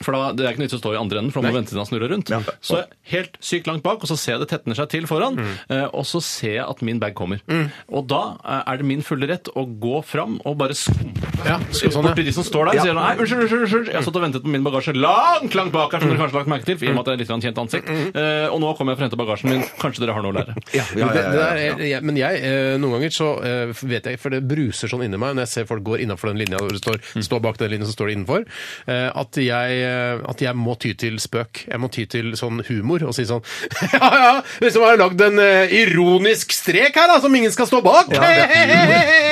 for da, Det er ikke noe vits i å stå i andre enden, for da må du vente til den snurrer rundt. Så jeg er helt sykt langt bak, og så ser jeg det tetner seg til foran. Mm. eh, Og så ser jeg at min bag kommer. Og da eh, er det min fulle rett å gå fram og bare skumpe Ja, så sånn, bort til ja. de som står der. og sier, nei, unnskyld, unnskyld, unnskyld. Jeg har stått og ventet på min bagasje langt, langt bak her, som dere kanskje har lagt merke til, i og med at det er litt grann kjent ansikt. Mm, Eh, Og nå kommer jeg for å hente bagasjen min. Kanskje dere har noe å lære. Ja, Men ja, ja, det- det ja, der ja. er- jeg- Men jeg, eh, noen ganger så eh, vet jeg, for det bruser sånn inni meg når jeg ser folk går innafor den linja hvor det står, Mm. står bak den linja, så står de innenfor, eh, at jeg, eh, at jeg må ty til spøk. Jeg må ty til sånn humor og si sånn Ja, ja, liksom har jeg lagd en eh, ironisk strek her, da, som ingen skal stå bak! Ja,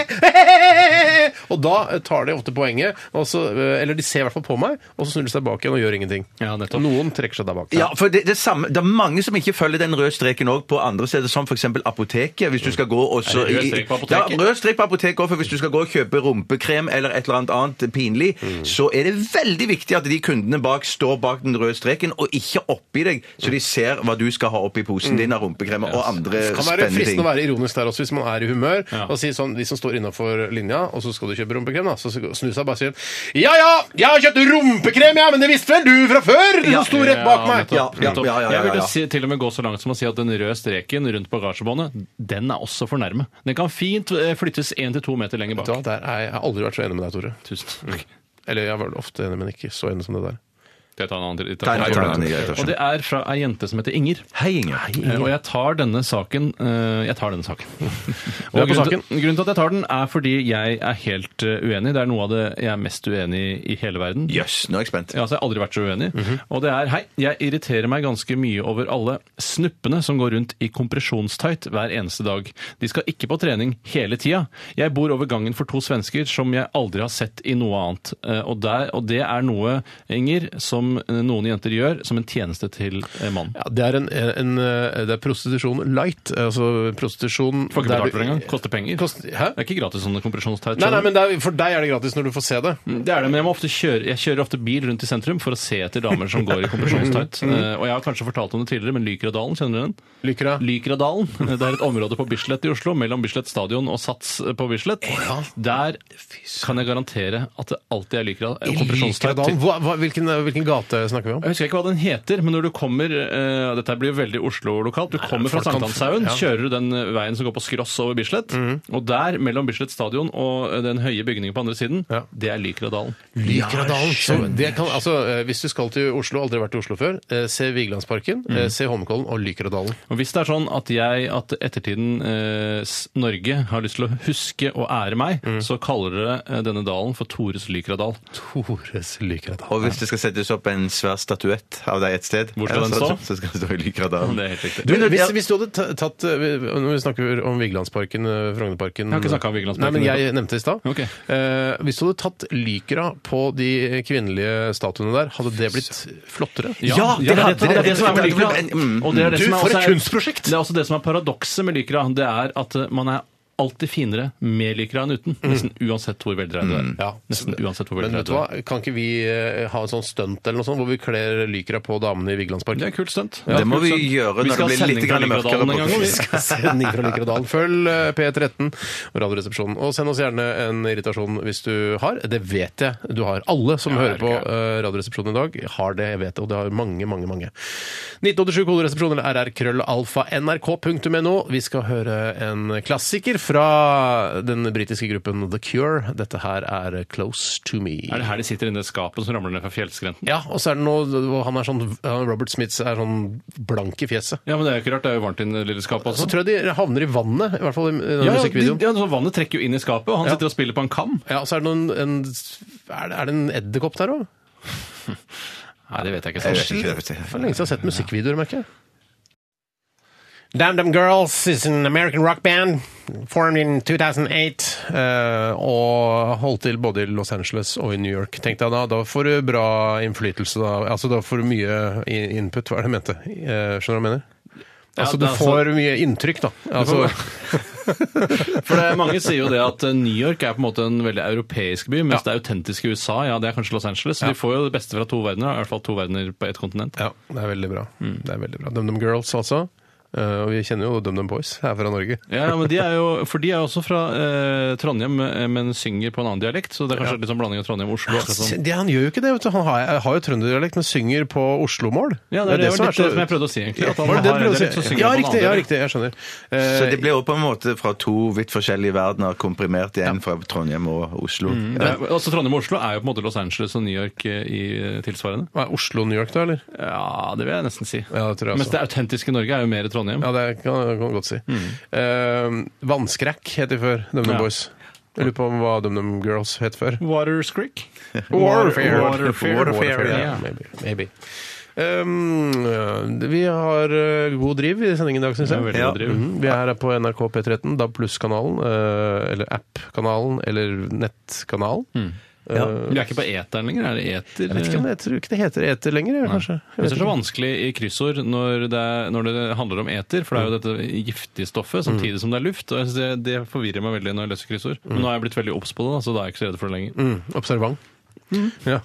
det og da eh, tar de ofte poenget, og så, eh, eller de ser i hvert fall på meg, og så snur de seg bak igjen og gjør ingenting. Ja, nettopp. Noen trekker seg der bak. Ja, for det, det, samme, det er mange som ikke følger den røde streken også på andre steder, som f.eks. apoteket. Hvis du skal gå og så Er det rød i- strek på apoteket? Ja, rød strek på apoteket også, for hvis du skal gå og kjøpe rumpekrem eller et eller annet annet pinlig, Mm. så er det veldig viktig at de kundene bak står bak den røde streken, og ikke oppi deg, så de ser hva du skal ha oppi Mm. posen din av rumpekrem og andre Det kan være spennende fristende ting. å være ironisk der også, hvis man er i humør. Ja. Og si sånn, De som står innafor linja, og så skal du kjøpe rumpekrem, da, så snur seg bare og sier Ja ja, jeg har kjøpt rumpekrem, ja, men det visste vel du fra før! Du Ja. som sto rett bak meg! Ja, ja, nettopp. ja, ja, ja, Jeg ville ja. si, til og med gå så langt som å si at den røde streken rundt bagasjebåndet, den er også for nærme. Den kan fint eh, flyttes én til to meter lenger bak. Da, der er jeg, jeg har aldri vært så enig med deg, Tore. Tusen takk. Eller jeg var vel ofte enig, men ikke så enig som det der. Skal jeg ta en annen til? Ta en annen, ta en annen, jeg tar sånn. Og det er fra ei jente som heter Inger. Hei, Inger. Eh, Og jeg tar denne saken. eh, Jeg tar denne saken. Og Du er på grunnen, saken. Til, grunnen til at jeg tar den, er fordi jeg er helt eh, uenig. Det er noe av det jeg er mest uenig i i hele verden. Jøss, nå er jeg spent. Ja, altså, jeg har aldri vært så uenig. Og det er Hei, jeg irriterer meg ganske mye over alle snuppene som går rundt i kompresjonstight hver eneste dag. De skal ikke på trening hele tida. Jeg bor over gangen for to svensker som jeg aldri har sett i noe annet. Eh, Og, der, og det er noe, Inger, som eh, noen jenter gjør som en tjeneste til eh, mann. Ja, det, er en, en, eh, det er prostitusjon light. Altså prostitusjon Får ikke der du- betalt for det engang. Koster penger. Kost- hæ? Det er ikke gratis sånne kompresjonstight. Nei, nei, skjønner du? men det er, For deg er det gratis når du får se det. Det er det, men jeg, må ofte kjøre, jeg kjører ofte bil rundt i sentrum for å se etter damer som går i kompresjonstight. Eh, Og jeg har kanskje fortalt om det tidligere, men Lykradalen, kjenner du den? Lykker deg. Lykradalen. Det er et område på Bislett i Oslo, mellom Bislett stadion og Sats på Bislett. Der kan jeg garantere at det alltid er lykra- eh, kompresjonstight. Lykradalen. Hva, hva, hvilken, hvilken gate snakker vi om? Jeg husker ikke hva den heter, men når du kommer eh, Dette blir jo veldig Oslo-lokalt. Du kommer fra folk kan- Sankthanshaugen, ja. Mhm. kjører du den eh, veien som går på skross over Bislett, og der, mellom Bislett stadion og eh, den høye bygningen på andre siden, Ja. det er Lykradalen. Lykradalen. Så det kan, altså, eh, hvis du skal til Oslo, aldri vært i Oslo før, eh, se Vigelandsparken, Mm. eh, se Holmenkollen og Lykradalen. Og Hvis det er sånn at jeg, at ettertiden eh, s- Norge har lyst til å huske og ære meg, Mhm. så kaller dere eh, denne dalen for Tores Lykradal. Tores Lykradal. Og hvis det skal settes opp en svær statuett av deg et sted Hvor skal den så- stå? Så skal den stå i Lykradalen. Det er helt riktig. Du, Men- hvis, ja. hvis du hadde ta- tatt eh, vi- Når vi snakker om Vigelandsparken, eh, Frognerparken Jeg har ikke snakket om Vigelandsparken. Nei, men jeg nevnte det i stad. Ok. Eh, hvis du hadde tatt Lykra på de kvinnelige statuene der, hadde det blitt flottere? Ja, det hadde- det, er det som er med det hadde- Lykra. Mm. Og det er det Du, som er for et også er- kunstprosjekt! Det er også det som er paradokset med Lykra. Det er at eh, man er alltid finere med Lykra enn uten. Nesten uansett hvor veldreid du er. Ja. Nesten uansett hvor Men veldreid vet du du hva, er. kan ikke vi eh, ha en sånn stunt eller noe sånt, hvor vi kler lykra på damene i Vigelandsparken? Det er kult stunt. Det må vi gjøre når det blir litt grann mørkere. på- Vi Vi skal- skal Sending fra Lykradalen. Følg eh, P13 og Radioresepsjonen. Og send oss gjerne en irritasjon hvis du har. Det vet jeg du har. Alle som Ja, hører det er på ikke eh, Radioresepsjonen i dag, har det. Jeg vet det, og det har mange, mange, mange. 1987 koderesepsjon eller rrkrøllalfa.nrk.no. Vi skal høre en klassiker fra den britiske gruppen The Cure. Dette her er Close to Me. Er det her de sitter inne i skapet som ramler ned fra fjellskrenten? Ja, og så er det noe og han er sånn, Robert Smith er sånn blank i fjeset. Ja, men det er jo ikke rart. Det er jo varmt inne i det lille skapet også. Så tror jeg de havner i vannet, i hvert fall i denne Ja, ja, de, musikkvideoen. ja, så vannet trekker jo inn i skapet, og han Ja. sitter og spiller på en kam. Ja, og så er det noen en, Er det, er det en edderkopp der òg? Nei, det vet jeg Jeg ikke. vet Så. ikke, jeg vet ikke. For lenge siden jeg har sett musikkvideoer, merker jeg. Damn Them Girls is an American rock band formed in 2008 eh, og holdt til både i Los Angeles og i New York. Tenkte jeg da, da får du bra innflytelse, da. Altså da får du mye i- input, hva er det jeg mente? Eh, skjønner du hva jeg mener? Altså det du er får mye inntrykk, da. Altså, For det, er- Mange sier jo det at eh, New York er på en måte en veldig europeisk by, mens Ja. det autentiske USA ja, det er kanskje Los Angeles. Så de får jo det beste fra to verdener, da. i hvert fall to verdener på ett kontinent. Ja, det er veldig bra. Det er veldig bra. DumDum Girls, altså. Eh, og vi kjenner jo DumDum Boys her fra Norge. Ja, men de er jo, For de er jo også fra eh, Trondheim, eh, men synger på en annen dialekt. Så det er kanskje litt sånn blanding av Trondheim og Oslo. akkurat sånn. Det, han gjør jo ikke det. Vet du. Han har, har jo trønderdialekt, men synger på oslomål. Ja, det, er det, så- var litt det som jeg prøvde å si, egentlig. At han Var det det har du prøvde å en si? dialekt som synger Ja, på en riktig, annen ja, dialekt. riktig. Jeg skjønner. Så Eh, det ble jo på en måte fra to vidt forskjellige verdener komprimert i en fra Trondheim og Oslo. Det er- Altså, Trondheim og Oslo er jo på en måte Los Angeles og New York eh, i eh, tilsvarende. hva er Oslo og New York, da, eller? Ja, det vil jeg nesten si. Ja, det tror jeg Mens også. det autentiske Norge er jo mer Trondheim. Ja, det kan kan man godt si. Eh, vannskrekk het de før, DumDum Ja. Boys. Jeg lurer på om hva DumDum Girls het før. Waters Creek. Warfare. Warfare. Warfare, Warfare, yeah, ja. maybe. maybe. Um, vi har eh, god driv i sendingen i dag, syns Det er jeg. veldig Ja. god driv. Mhm. Vi er her på NRK P13, DAB pluss-kanalen, eh, eller app-kanalen, eller nettkanalen. Ja. Vi er ikke på eteren lenger, er det eter? Jeg vet ikke om det, jeg tror ikke det heter eter lenger, jeg, kanskje. Jeg Jeg vet synes det er så vanskelig i kryssord når det, er, når det handler om eter, for det er Mm. jo dette giftige stoffet samtidig som det er luft. og jeg synes det, det forvirrer meg veldig når jeg løser kryssord. Mm. Men nå har jeg blitt veldig obs på det, da, så da er jeg ikke så redd for det lenger. Mm, observant. Ja.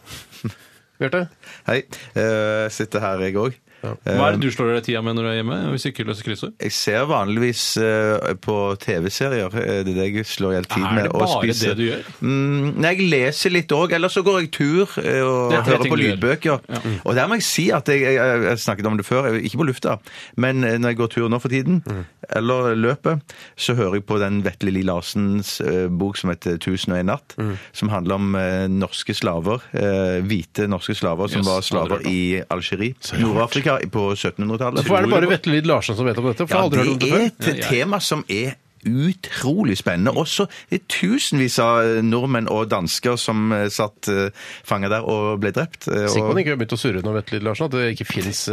Bjarte? Hei. eh, sitter her, jeg òg. Hva er det du slår deg i tida med når du er hjemme? hvis du ikke løser kryssord? Jeg ser vanligvis eh, på TV-serier. eh, Det er det jeg slår i hele tiden Er med. det og bare spiser. det du gjør? Mm, nei, jeg leser litt òg. Eller så går jeg tur eh, og Det er tre hører ting på du gjør. lydbøker. Og der må jeg si at jeg, jeg, jeg, jeg snakket om det før, jeg- ikke på lufta, men eh, når jeg går tur nå for tiden, eller løper, så hører jeg på den Vetle Li Larsens eh, bok som heter 1001 natt, som handler om eh, norske slaver, eh, hvite norske slaver som Yes, var aldri hørt slaver om. i Algerie, Nord-Afrika, på 1700-tallet. Hvorfor er det bare Vetle Lid Larsen som vet om dette? For jeg har aldri hørt om det Ja, før. det er et tema som er utrolig spennende. Også det er tusenvis av eh, nordmenn og dansker som eh, satt eh, fanget der og ble drept. eh, Sikkert man Og ikke har begynt å surre nå, Vetle Lid Larsen, at det ikke fins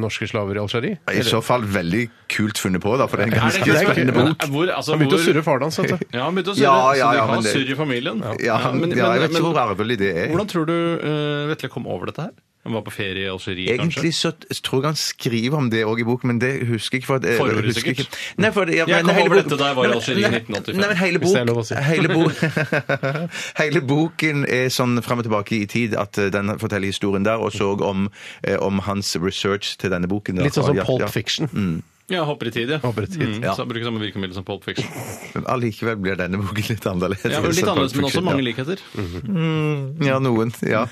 norske slaver i Algerie. i så fall veldig kult funnet på, da, for det er en Er det ganske ikke- spennende Men, bok. eh, Hvor, altså, Han begynte å hvor- surre faren hans, vet du. Ja, han begynte å surre, Ja, ja, ja, så de men har det- surr i familien. Ja, men- ja, men- jeg vet ikke men- hvor arvelig det er. Hvordan tror du eh, Vetle kom over dette her? Han var på ferie i Algerie, kanskje? Egentlig så t- tror jeg han skriver om det òg i boken, men det husker jeg ikke. For at, eh, Forordet, husker jeg sikkert. ikke. Nei, for, det- ja, Jeg men kom hele over bok- dette da jeg var i Nei, men- Algerie i nei, 1985. Nei, men hele, Hvis det er lov å bok, si. hele, bo- hele boken er sånn fram og tilbake i tid at eh, den forteller historien der, og så om, eh, om hans research til denne boken. da. Litt sånn som Ja, Pulp ja. Fiction. Ja, hopper i tid, ja. Hopper i tid, Mm, ja. Så han bruker samme virkemiddel som Pulp Fiction. Men Allikevel blir denne boken litt annerledes. Ja, men litt annerledes, enn men Pulp også Fiction, mange ja. likheter. Ja, noen. ja.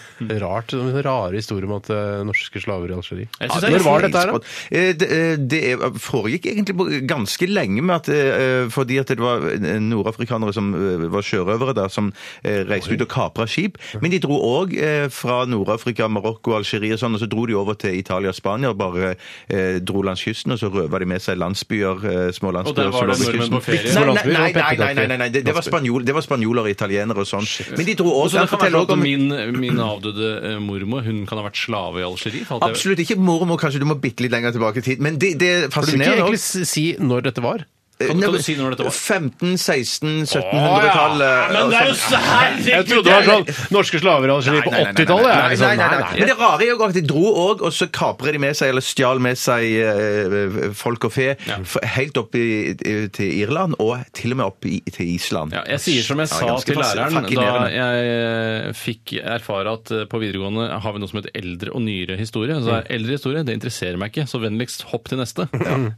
Rart. det er Rare historier om at eh, norske slaver i Algerie. Jeg Ja, synes det er Når var dette her, da? Eh, Det, eh, det er- foregikk egentlig på- ganske lenge med at, eh, fordi at det var eh, nordafrikanere som eh, var sjørøvere der, som eh, reiste ut og kapra skip. Men de dro òg fra Nord-Afrika, Marokko, Algerie og sånn, og så dro de over til Italia og Spania og bare eh, dro langs kysten, og så røva de med seg landsbyer, eh, små landsbyer. der som var det ved nordmenn kysten. på ferie. Nei, Små nei, landsbyer og nei, nei, nei, nei, pepperkaker. nei, nei, det, det var spanjol, det var spanjoler og italienere og sånn. Men de dro Og så òg det kan være at min, min avdøde eh, mormor hun kan ha vært slave i Algerie. for alt jeg vet. Absolutt ikke mormor, kanskje du må bitte litt lenger tilbake i tid. Men det, det er Burde du ikke fascinerende. egentlig også. s- si når dette var? Kan- kan Eh, Nei, du si når dette var? 15, 16, 1700-tallet. og sånn. Jeg trodde det var sånn norske slaver i Algerie på Nei, nei, nei, nei, 80-tallet. nei, jeg er nei, liksom, nei, nei, nei. Men det rare er jo at de dro òg, og så kapra de med seg, eller stjal med seg, eh, folk og fe f- helt opp i, i- til Irland, og til og med opp i, til Island. Ja, jeg sier som jeg Ja, sa ganske til fas- læreren da fascinerende. jeg eh, fikk erfare at eh, på videregående har vi noe som heter eldre og nyere historie. Så er eldre historie det interesserer meg ikke, så vennligst hopp til neste.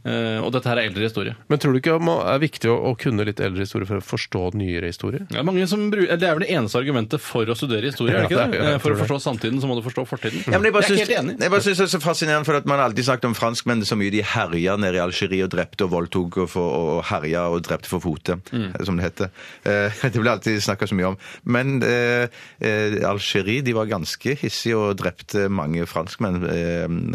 Eh, og dette her er eldre historie. Men tror du ikke det er viktig å, å kunne litt eldre historie for å forstå nyere historie? Det er, mange som bru- det er vel det eneste argumentet for å studere historie, Ja, er det ikke det det? er- jeg Eh, For å tror det. forstå samtiden så må du forstå fortiden. Ja, men jeg bare Jeg er syns- helt enig. Jeg bare syns det er så fascinerende, for at man har alltid snakket om franskmenn så mye de herja nede i Algerie og drepte og voldtok og, for, og herja og drepte for fote, Mm. som det heter. Eh, det ble alltid snakka så mye om. Men eh, eh, Algerie de var ganske hissige og drepte mange franskmenn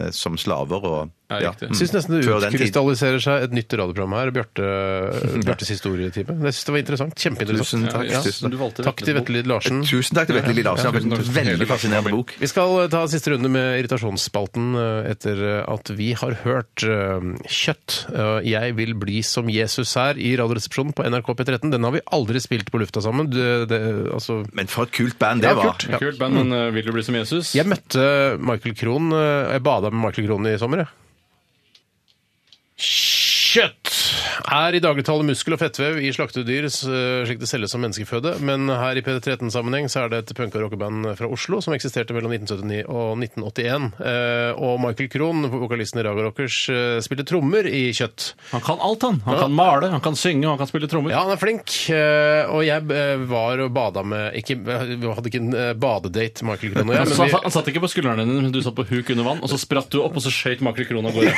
eh, som slaver og Ja, riktig. Jeg syns nesten det Mm. Før den tid. utkrystalliserer seg et nytt radioprogram her. Bjarte, Bjartes historietime. Jeg syns det var interessant. Tusen Kjempeinteressant. takk. Ja, tusen du takk. valgte Takk til Vetle Vetle Bo. Lid Larsen. Tusen takk til Vetle Lille Larsen. Det tusen har vært takk. en veldig fascinerende bok. Vi skal eh, ta en siste runde med irritasjonsspalten eh, etter eh, at vi har hørt eh, kjøtt. eh, Jeg vil bli som Jesus her i Radioresepsjonen på NRK P13. Den har vi aldri spilt på lufta sammen. Du, det, altså, Men for et kult band det Ja, var. kult. Ja. Kult band, men eh, vil du bli som Jesus? jeg møtte Michael Krohn. eh, Jeg bada med Michael Krohn i sommer, jeg. Kjøtt er i dagligtallet muskel og fettvev i slaktedyr s- eh, slik det selges som menneskeføde, men her i P13-sammenheng så er det et punk- og rockeband fra Oslo som eksisterte mellom 1979 og 1981. Eh, Og Michael Krohn, vokalisten i Raga Rockers, eh, spilte trommer i Kjøtt. Han kan alt, han. Han kan male, han kan synge, og han kan spille trommer. Ja, han er flink, eh, og jeg eh, var og bada med ikke, Vi hadde ikke en eh, badedate, Michael Krohn og jeg. Så men han, vi- satt- han satt ikke på skuldrene dine, men du satt på huk under vann, og så spratt du opp, og så skjøt Makri Krohn av gårde.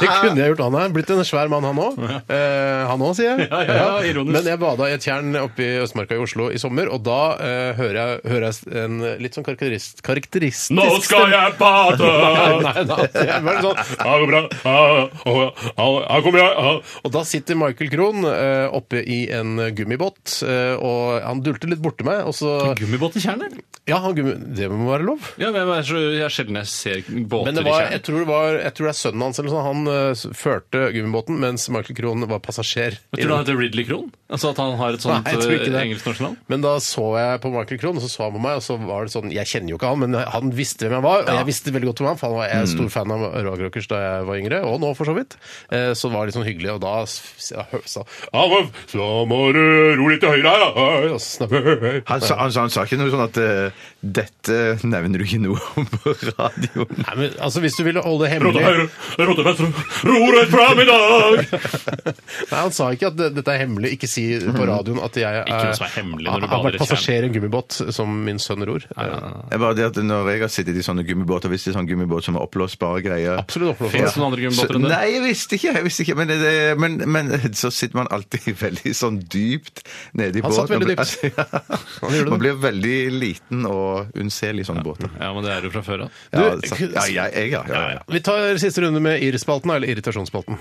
Det kunne jeg gjort. Han er blitt en svær mann, han òg. Eh, han òg, sier jeg. Ja, ja, ja, ironisk. Men jeg bada i et tjern oppe i Østmarka i Oslo i sommer, og da eh, hører, jeg, hører jeg en litt sånn karakterist, karakteristisk Nå skal jeg bade! Nei, nei, nei, jeg bare sånn. Ha det bra. Ha, ha, ha, ha, kom bra. Ha. Og da sitter Michael Krohn eh, oppe i en gummibåt, eh, og han dulter litt borti meg, og så Gummibåt i tjernet? Ja, han gummi... Det må være lov? Ja, men jeg, er så, jeg er sjelden jeg ser båter Men det var, i jeg, tjernet. tror det var, jeg tror det er sønnen hans eller sånn, han eh, førte gummibåten, mens Michael Michael Krohn var passasjer. Tror du han heter Ridley Krohn? Altså at han har et sånt Nei, jeg tror ikke eh, det. engelsk norsk navn? Men da så jeg på Michael Krohn, og så så han på meg, og så var det sånn Jeg kjenner jo ikke han, men han visste hvem jeg var, og jeg visste veldig godt hvem han var, for han var jeg er Mm. stor fan av Roger Rockers da jeg var yngre, og nå for så vidt. Eh, Så det var litt sånn hyggelig, og da s- jeg sa han Så må du ro litt til høyre her, da! Og så snakket- Han sa, han, sa, han sa ikke noe sånn at eh, 'Dette nevner du ikke noe om på radioen'. Nei, men altså, hvis du ville holde det hemmelig rote venstre, ro rett fram i dag! Nei, han sa ikke at det- dette er hemmelig. Ikke si på radioen at jeg Mhm. Ikke noe som er hemmelig når du har bader i vært passasjer i en gummibåt, som min sønn ror. Eh, Det er bare det at Når jeg har sittet i sånne gummibåter, hvis det er sånn gummibåt som er oppblåsbare greier Absolutt oppblåsbare. Fins det noen andre gummibåter enn Så- det? Nei, jeg visste ikke. jeg visste ikke, Men, det, men, men så sitter man alltid veldig sånn dypt nede i Han satt båten. og veldig blir- dypt. Han ja. gjorde det. Man blir veldig liten og unnselig i sånne båter. Ja, men det er du fra før av. Ja, Du, så- ja, jeg, jeg, ja, ja, ja. Vi tar siste runde med irrspalten, eller irritasjonsspalten.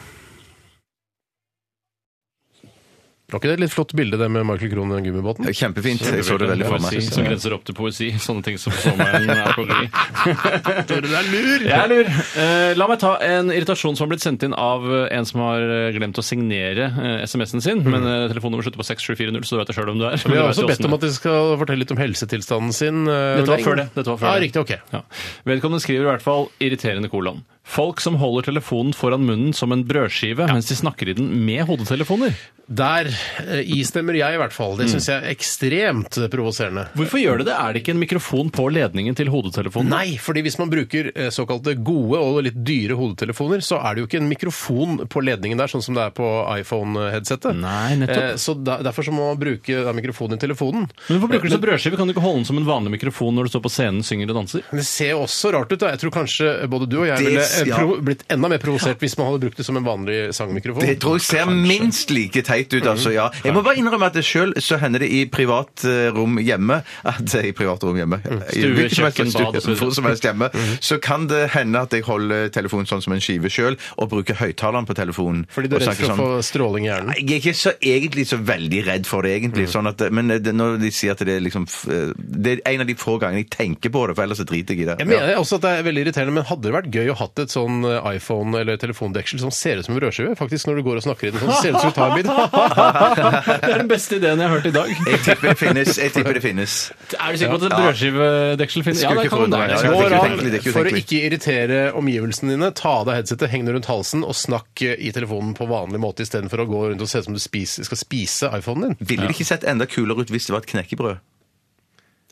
Var ikke det et litt flott bilde, det med Michael Krohn i den gummibåten? Det er Kjempefint. Jeg så det veldig for Poesi Som meg. grenser opp til poesi. Sånne ting som sommeren er kongeri. Du er lur! Jeg er lur. Eh, la meg ta en irritasjon som har blitt sendt inn av eh, en som har eh, glemt å signere eh, SMS-en sin. Men eh, Mm. telefonnummeret slutter på 6740, så du vet det sjøl om du er. Vi har også bedt om at de skal fortelle litt om helsetilstanden sin. eh, Dette var lenge. før det. Dette var før ja, det. riktig, ok. Ja. Vedkommende skriver i hvert fall 'irriterende kolon'. Folk som holder telefonen foran munnen som en brødskive mens de snakker i den med hodetelefoner. Der eh, istemmer jeg i hvert fall. Mm. Det syns jeg er ekstremt provoserende. Hvorfor gjør det det? Er det ikke en mikrofon på ledningen til hodetelefonen? Nei, fordi hvis man bruker eh, såkalte gode og litt dyre hodetelefoner, så er det jo ikke en mikrofon på ledningen der, sånn som det er på iPhone-headsetet. Nei, nettopp. Eh, Så der, derfor så må man bruke da, mikrofonen i telefonen. Men hvorfor bruker du så brødskive? Kan du ikke holde den som en vanlig mikrofon når du står på scenen, synger og danser? Men Det ser jo også rart ut. da. Jeg tror kanskje både du og jeg Det- ville eh, ja. pro blitt enda mer provosert hvis man hadde brukt det som en vanlig sangmikrofon. Det tror jeg ser minst like teit ut, altså. ja. Jeg må bare innrømme at sjøl så hender det i privatrom hjemme at I privatrom hjemme Mm. i Stue, hvilken som helst kjøkken, stue, bad og så videre. Hvor som helst hjemme. Så kan det hende at jeg holder telefonen sånn som en skive sjøl, og bruker høyttaleren på telefonen. Fordi du og er redd for snakker å sånn. få stråling i hjernen. Jeg er ikke så, egentlig så veldig redd for det, egentlig. Mm. Sånn at, men det, når de sier at det er liksom f- Det er en av de få gangene jeg tenker på det, for ellers så driter jeg i det. Jeg mener også at det er veldig irriterende, men hadde det vært gøy å hatt et sånn eh, iPhone- eller telefondeksel som ser ut som en brødskive? Faktisk, når du går og snakker i den, sånn, ser det ut som du tar en bit. Det er den beste ideen jeg har hørt i dag. Jeg tipper det finnes. Jeg tipper det finnes. Er du sikker på at et brødskivedeksel finnes? Skulle ikke forundre meg, det. ja. Går Går ikke an, utenkelig, det er ikke for å utenkelig. ikke irritere omgivelsene dine, ta av deg headsetet, heng det rundt halsen og snakk eh, i telefonen på vanlig måte istedenfor å gå rundt og se ut som du spiser, skal spise iPhonen din. Ville det ikke sett enda kulere ut hvis det var et knekkebrød?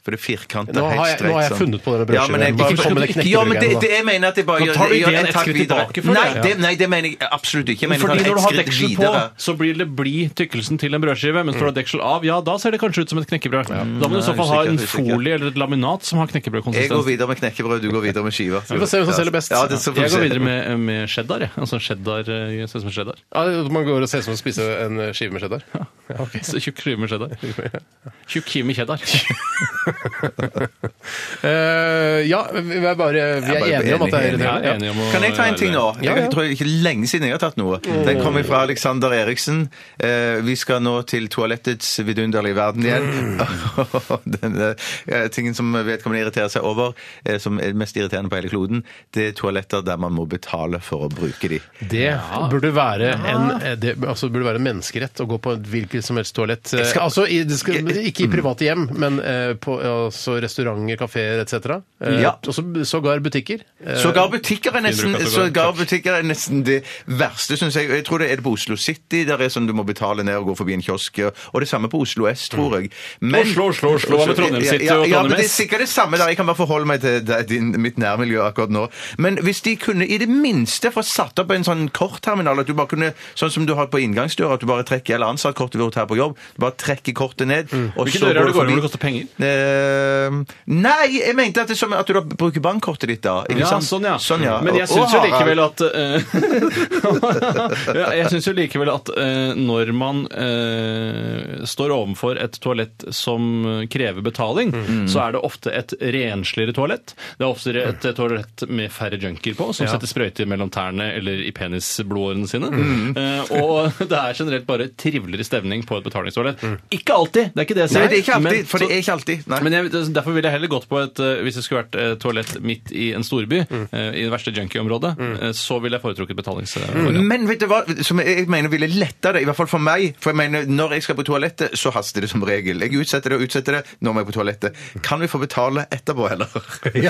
For det er firkantet Nå har helt jeg- nå streit. har jeg sånn. funnet på denne brødskiven. Ja, men jeg, Hvorfor ikke, skal du ikke- ja, men det, det, jeg mener at jeg bare Nå tar du jeg gjør ideen en et takk skritt videre. tilbake for nei, det. det. Nei, det mener jeg absolutt ikke. Jeg mener Fordi jeg tar når du et har skritt deksel på, videre. så blir det blid tykkelsen til en brødskive. Mens når du har deksel av, ja, da ser det kanskje ut som et knekkebrød. Da må du i så fall ha usikker, en usikker. folie eller et laminat som har Jeg går knekkebrødkonsistens. videre med knekkebrød, du går videre med skiver. Vi får se hvem som selger best. Ja, det så Jeg får vi går se. videre med, med cheddar, jeg. Altså cheddar, eh, jeg ser ut som cheddar. Ja, man går og ser ut som å spise en eh, skive med cheddar. Ja, ok. Så Altså Tjukk skive med cheddar. Tjukk skive med cheddar. Eh, ja, vi er bare vi er bare enige om at det er enig, Jeg er irriterende. enig om å Kan jeg ta en ting nå? Ja, ja. Jeg tror ikke lenge siden jeg har tatt noe. Den kommer fra Alexander Eriksen. Eh, vi skal nå til toalettets vidunderlige verden igjen. Mm. Denne eh, tingen som vedkommende irriterer seg over, eh, som er mest irriterende på hele kloden, det er toaletter der man må betale for å bruke de. Ja. Det burde være en eh, det, altså, burde være en menneskerett å gå på et hvilket som helst toalett. Eh, skal- Mm. altså, i, det skal, ikke i private hjem, men eh, på altså, restauranter, kafeer etc. Eh, Ja. Også sågar butikker. Eh, Sågar butikker er nesten, Innrykk at det går. sågar butikker er nesten det verste, syns jeg. Jeg tror det er det på Oslo City. Der er sånn du må betale ned og gå forbi en kiosk. Og det samme på Oslo S, tror jeg. Men- Mm. Oslo, Oslo, Oslo. Hva med Trondheim City ja, og ja, Trondheim men Det er S? sikkert det samme der. Jeg kan bare forholde meg til det- din, mitt nærmiljø akkurat nå. Men hvis de kunne i det minste få satt opp en sånn kortterminal, at du bare kunne, sånn som du har på inngangsdøra, at du bare trekker eller ansattkortet vårt her på jobb, du bare trekker kortet ned og Hvilke så dører Mm. er det du går i går forbi. når det koster penger? Eh, nei, jeg mente at, det er som at du da bruker bankkortet ditt, da. Ikke Ja, sant? sånn, ja. Sånn, ja. Men jeg Og- og syns jo Harald. likevel at eh, ja, Jeg syns jo likevel at eh, når man eh, står overfor et toalett som krever betaling, Mm. så er det ofte et rensligere toalett. Det er oftere Mm. et toalett med færre junkier på, som setter sprøyter Mm. mellom tærne eller i penisblodårene sine. Eh, og det er generelt bare triveligere stemning regning på et betalingstoalett. Ikke alltid! Det er ikke det jeg Mm. Nei, sier. det er ikke alltid. men- for det er ikke alltid. Nei. Men jeg, derfor ville jeg heller gått på et eh, Hvis det skulle vært eh, toalett midt i en storby, eh, i det verste junkieområdet, Mm. eh, så ville jeg foretrukket betalings... Men vet du hva som jeg mener ville letta det, i hvert fall for meg For jeg mener, når jeg skal på toalettet, så haster det som regel. Jeg utsetter det og utsetter det. Nå må jeg på toalettet. Kan vi få betale etterpå, heller? Ja.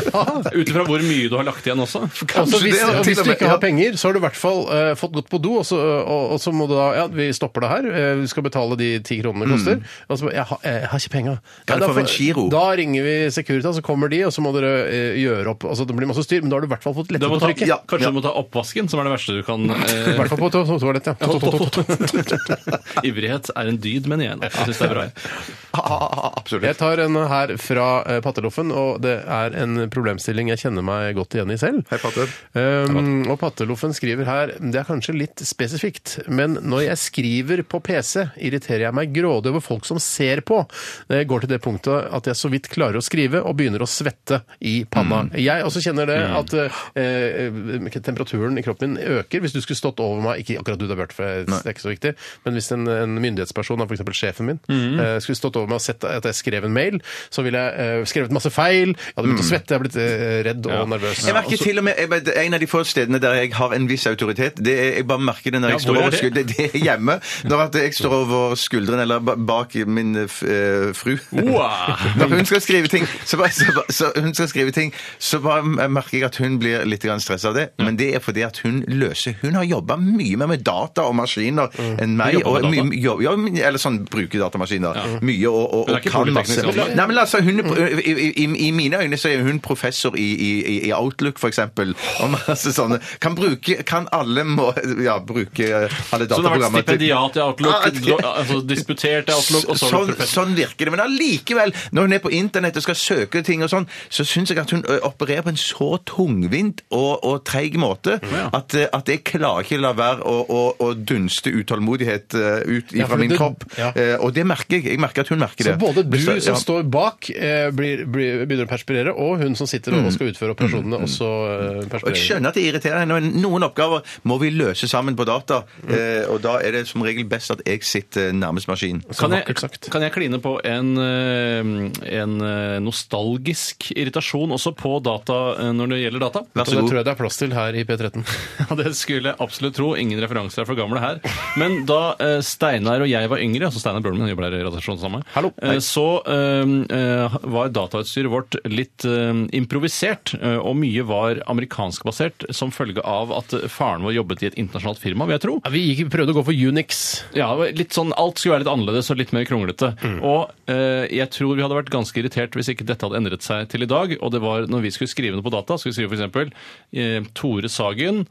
Ut ifra hvor mye du har lagt igjen også. Altså, hvis, det, ja, og til hvis og du med, ikke ja. har penger, så har du i hvert fall eh, fått gått på do, og så, og, og så må du da Ja, vi stopper det her. eh, vi skal betale de ti kronene det koster. Og så bare, jeg, har- eh, jeg har ikke penga. Mm. Kan jeg få en giro? Da ringer vi Securitas, så kommer de, og så må dere eh, gjøre opp Altså, det blir masse styr, men da har du i hvert fall fått Du lettet må på ta, trykket. Ja. kanskje du må ta oppvasken, som er det verste du kan I hvert eh, fall på to- to- toalettet. Ja. To- to- to- to- to. Ivrighet er en dyd, mener jeg. nå. Jeg syns det er bra. jeg. Ah, absolutt. Jeg tar en her fra eh, Patteloffen, og det er en problemstilling jeg kjenner meg godt igjen i selv. Hei, Patte. Um, og Patteloffen skriver her Det er kanskje litt spesifikt, men når jeg skriver på PC, irriterer jeg meg grådig over folk som ser på. Jeg går til det punktet at jeg så vidt klarer å skrive og begynner å svette i panna. Jeg også kjenner det at eh, temperaturen i kroppen min øker. Hvis du skulle stått over meg Ikke akkurat du, da, Bjarte, for det er ikke så viktig, men hvis en, en myndighetsperson, f.eks. sjefen min, eh, skulle stått over meg og sett at jeg skrev en mail, så ville jeg eh, skrevet masse feil, jeg hadde begynt å svette, jeg hadde blitt eh, redd og nervøs. Jeg altså- merker til og med, jeg, vet, En av de få stedene der jeg har en viss autoritet det er, Jeg bare merker det når jeg hvor står er over det? skuldrene. Det er hjemme. Når at jeg står over skuldrene eller ba- bak min eh, f- eh, fru. Wow. Når hun skal skrive ting, så, bare, så, bare- så hun skal skrive ting, så bare merker jeg at hun blir litt stressa av det. Men det er fordi at hun løser Hun har jobba mye mer med data og maskiner enn meg. Mm. Jobber Og, med data. my, jo- ja, men- eller sånn bruker datamaskiner mye og, og, Hun er Mm. og ikke kan masse. polyteknisk, altså. Nei, men altså, hun, er pro- i, i, I mine øyne så er hun professor i, i, i Outlook, for eksempel. Og masse sånne. Kan bruke Kan alle må Ja, bruke eh, alle Så du har vært dataprogrammer til- stipendiat i Outlook, Ah, det- do- altså disputert i Outlook, og så har du sånn, professor. sånn virker det. Men allikevel, når hun er på internett og skal søke ting og sånn, så syns jeg at hun ø, opererer på en så tungvint og, og treig måte at, ø, at jeg klarer ikke å la være å, å, å dunste utålmodighet ø, ut Ja, for fra min du- kropp. ja. Eh, Og det merker jeg. Jeg merker at hun merker Så det. både du Så- som ja. står bak, eh, blir, blir, begynner å perspirere, og hun som sitter Mm. og skal utføre operasjonene, også eh, og jeg perspirerer. skjønner at det irriterer henne, men noen oppgaver må vi løse sammen på data. eh, Mm. Og da er det som regel best at jeg sitter nærmest maskin. Så Kan jeg, vakkert sagt. kan jeg kline på en, eh, en eh, nostalgisk irritasjon også på data eh, når det gjelder data? Vær Så så det god. tror jeg det er plass til her i P13. Ja, det skulle jeg absolutt tro. Ingen referanser er for gamle her. Men da eh, Steinar og jeg var yngre, altså Steinar broren min han jobber der i Radiostasjonen sammen, med meg, Hallo. eh, så eh, eh, var datautstyret vårt litt eh, improvisert, eh, og mye var amerikanskbasert som følge av at faren vår jobbet i et internasjonalt firma, vil jeg tro. Ja, vi gikk, prøvde å gå for Unix. Ja, det var litt sånn, Alt skulle være litt annerledes og litt mer kronglete. Og eh, jeg tror vi hadde vært ganske irritert hvis ikke dette hadde endret seg til i dag. Og det var når vi skulle skrive noe på data, skulle vi skrive f.eks.: eh, Tore Sagen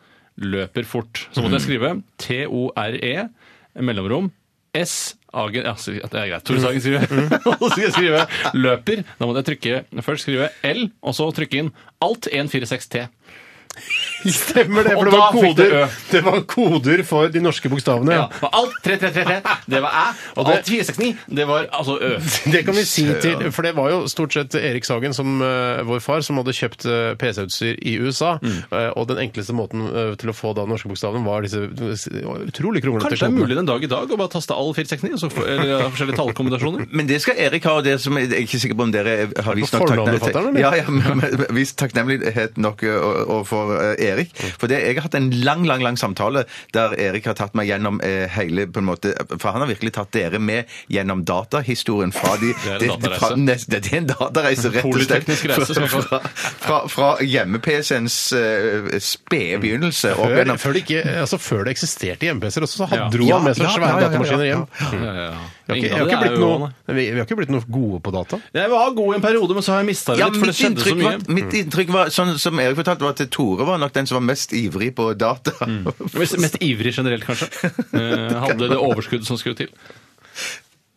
løper fort. Så måtte jeg skrive T-O-R-E, E, mellomrom, S. Agen, ja, så- ja, det er greit. Tore Sagen skriver Og så skal jeg skrive 'løper'. Da måtte jeg trykke først skrive L, og så trykke inn alt 146T. Stemmer Og da fikk det Ø. det var koder for de norske bokstavene. Ja. og Alt 3333, det var æ. Og det- alt 469, det var altså ø. Det kan vi si til, for det var jo stort sett Erik Sagen, som, eh, vår far, som hadde kjøpt eh, PC-utstyr i USA. Mm. Eh, og den enkleste måten eh, til å få da norske bokstavene var disse eh, utrolig kronglete Kanskje det er kodene. mulig den dag i dag å bare taste all 469 og så få- eller ja, forskjellige tallkombinasjoner? Men det skal Erik ha, og det som jeg er ikke sikker på om dere har vist nok fornavnet takknemlighet fatter han, eller? ja, ja, men- men vist takknemlighet nok eh, ø, overfor ø, eh, Erik. Mm. For det, jeg har hatt en lang, lang lang samtale der Erik har tatt meg gjennom ø, hele på en måte, For han har virkelig tatt dere med gjennom datahistorien fra de er en de- datareise. fra- nest- Det er en datareise, rett og slett. Polyteknisk reise, som jeg kaller Fra, fra, fra hjemme-PC-ens ø, spede begynnelse. opp Før, gjennom- før, det ikke, altså før det eksisterte hjemme-PC-er også, så Ja. hadde dro Ja, han med seg ja, svære ja, ja, ja, datamaskiner ja. hjem. Vi har ikke, vi har ikke blitt noe, vi, vi har ikke blitt noe gode på data. Jeg var god i en periode, men så har jeg mista det Ja, litt, for det mitt skjedde så inntrykk, mye. var, mitt inntrykk var, sånn som Erik fortalte, var at Tore var nok den som var mest ivrig på data. Mm. Mest, mest ivrig generelt, kanskje. Eh, hadde det overskuddet som skulle til.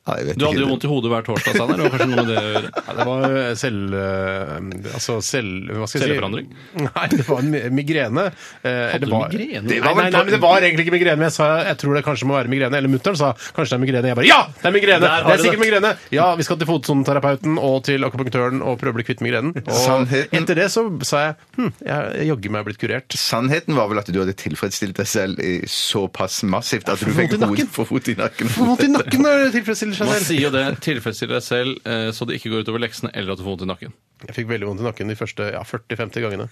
Ja, jeg vet Du hadde ikke. jo vondt i hodet hver torsdag, Steinar. Det var kanskje noe med det å gjøre. Ja, det var selv... eh, Altså selv... Hva skal jeg si? Celleforandring? Nei, det var mi- migrene. Hadde du migrene? Det var nei, nei, nei, men det var egentlig ikke migrene. men Jeg sa jeg tror det kanskje må være migrene. Eller mutter'n sa kanskje det er migrene. Jeg bare ja! Det er migrene! har Det er du sikkert det. migrene! Ja, vi skal til fotsoneterapeuten og til akupunktøren og prøve å bli kvitt migrenen. Og Sannheten. etter det så sa jeg hm, jeg jeg jaggu meg blitt kurert. Sannheten var vel at du hadde tilfredsstilt deg selv i såpass massivt at du vondt fikk i nakken. hodet for fot i nakken. Få vondt i nakken når det tilfredsstiller seg Man selv. sier jo det. Tilfredsstille deg selv eh, så det ikke går utover leksene eller at du får vondt i nakken. Jeg fikk veldig vondt i nakken de første ja, 40-50 gangene.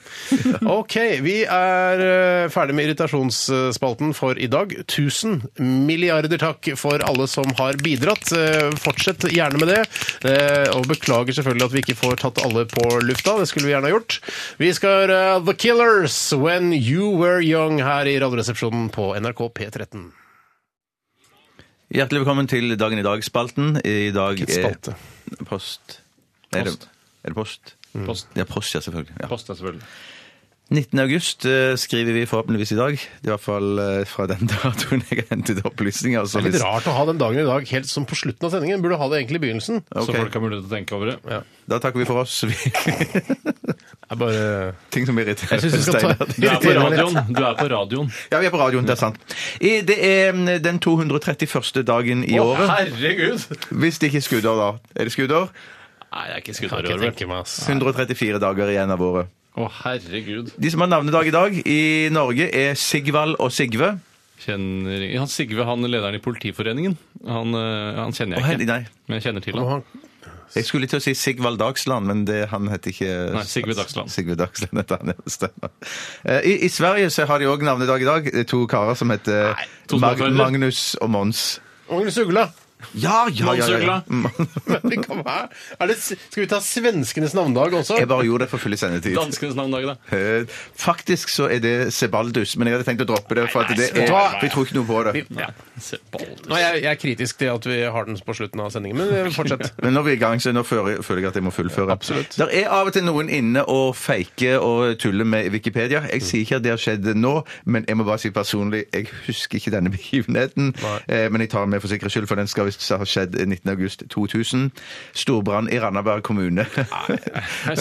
Ok, vi er eh, ferdig med irritasjonsspalten for i dag. Tusen milliarder takk for alle som har bidratt. Eh, Fortsett gjerne med det. Eh, Og beklager selvfølgelig at vi ikke får tatt alle på lufta. Det skulle vi gjerne ha gjort. Vi skal høre The Killers, When You Were Young, her i Radioresepsjonen på NRK P13. Hjertelig velkommen til Dagen i dag-spalten. I dag Litt spalte. er post. Er det, Post. er det post? Post. Det er post, ja, selvfølgelig. Ja. Post deg selvfølgelig. 19. august eh, skriver vi forhåpentligvis i dag. Det er i hvert fall eh, fra den datoen jeg har hentet opplysninger. Det Altså, er litt hvis- rart å ha den dagen i dag helt som på slutten av sendingen. Burde ha det egentlig i begynnelsen. Ok, Så folk har mulighet til å tenke over det. Da takker vi for oss. Vi, Jeg bare... ting som irriterer Jeg synes vi skal ta- Steinar. Du er på radioen. Du er på radioen. Ja, vi er på radioen, det er sant. I- Det er mm, den 231. dagen i året. herregud! Hvis det ikke er skuddår, da. Er det skuddår? Nei, jeg er ikke Kan skuddår i ikke år. tenke meg, ass. 134 dager igjen av året. Å, herregud. De som har navnedag i dag i Norge, er Sigvald og Sigve. Kjenner ja, han Sigve, han lederen i Politiforeningen, han, eh, han kjenner Å, jeg hel- ikke. nei. Men jeg kjenner til Og han. han Jeg skulle til å si Sigvald Dagsland, men det, han heter ikke Nei, Sigve Dagsland. Sigve Dagsland heter han, ja, stemmer. Eh, I, I Sverige så har de òg navnedag i dag. Det er To karer som heter Nei, to Mag småkarer. Magnus og Mons. Magnus Ugla. Ja, Mons Ugla. Men det kan være- Er det, skal vi ta svenskenes navndag også? Jeg bare gjorde det for full sendetid. Danskenes navn dag, da. Eh, Faktisk så er det Sebaldus, men jeg hadde tenkt å droppe det. For at det vet er, du hva? vi tror ikke noe på det. Ja. se bald. Nei, jeg, jeg er kritisk til at vi har den på slutten av sendingen, men eh, fortsett. Men nå er vi i gang, så nå føler føler jeg at jeg må fullføre. Absolutt. Der er av og til noen inne og feiker og tuller med Wikipedia. Jeg sier ikke at det har skjedd nå, men jeg må bare si personlig, jeg husker ikke denne begivenheten. Eh, men jeg tar den med for sikkerhets skyld, for den skal visst ha skjedd 19. august 2000. Storbrann i Randaberg kommune. sier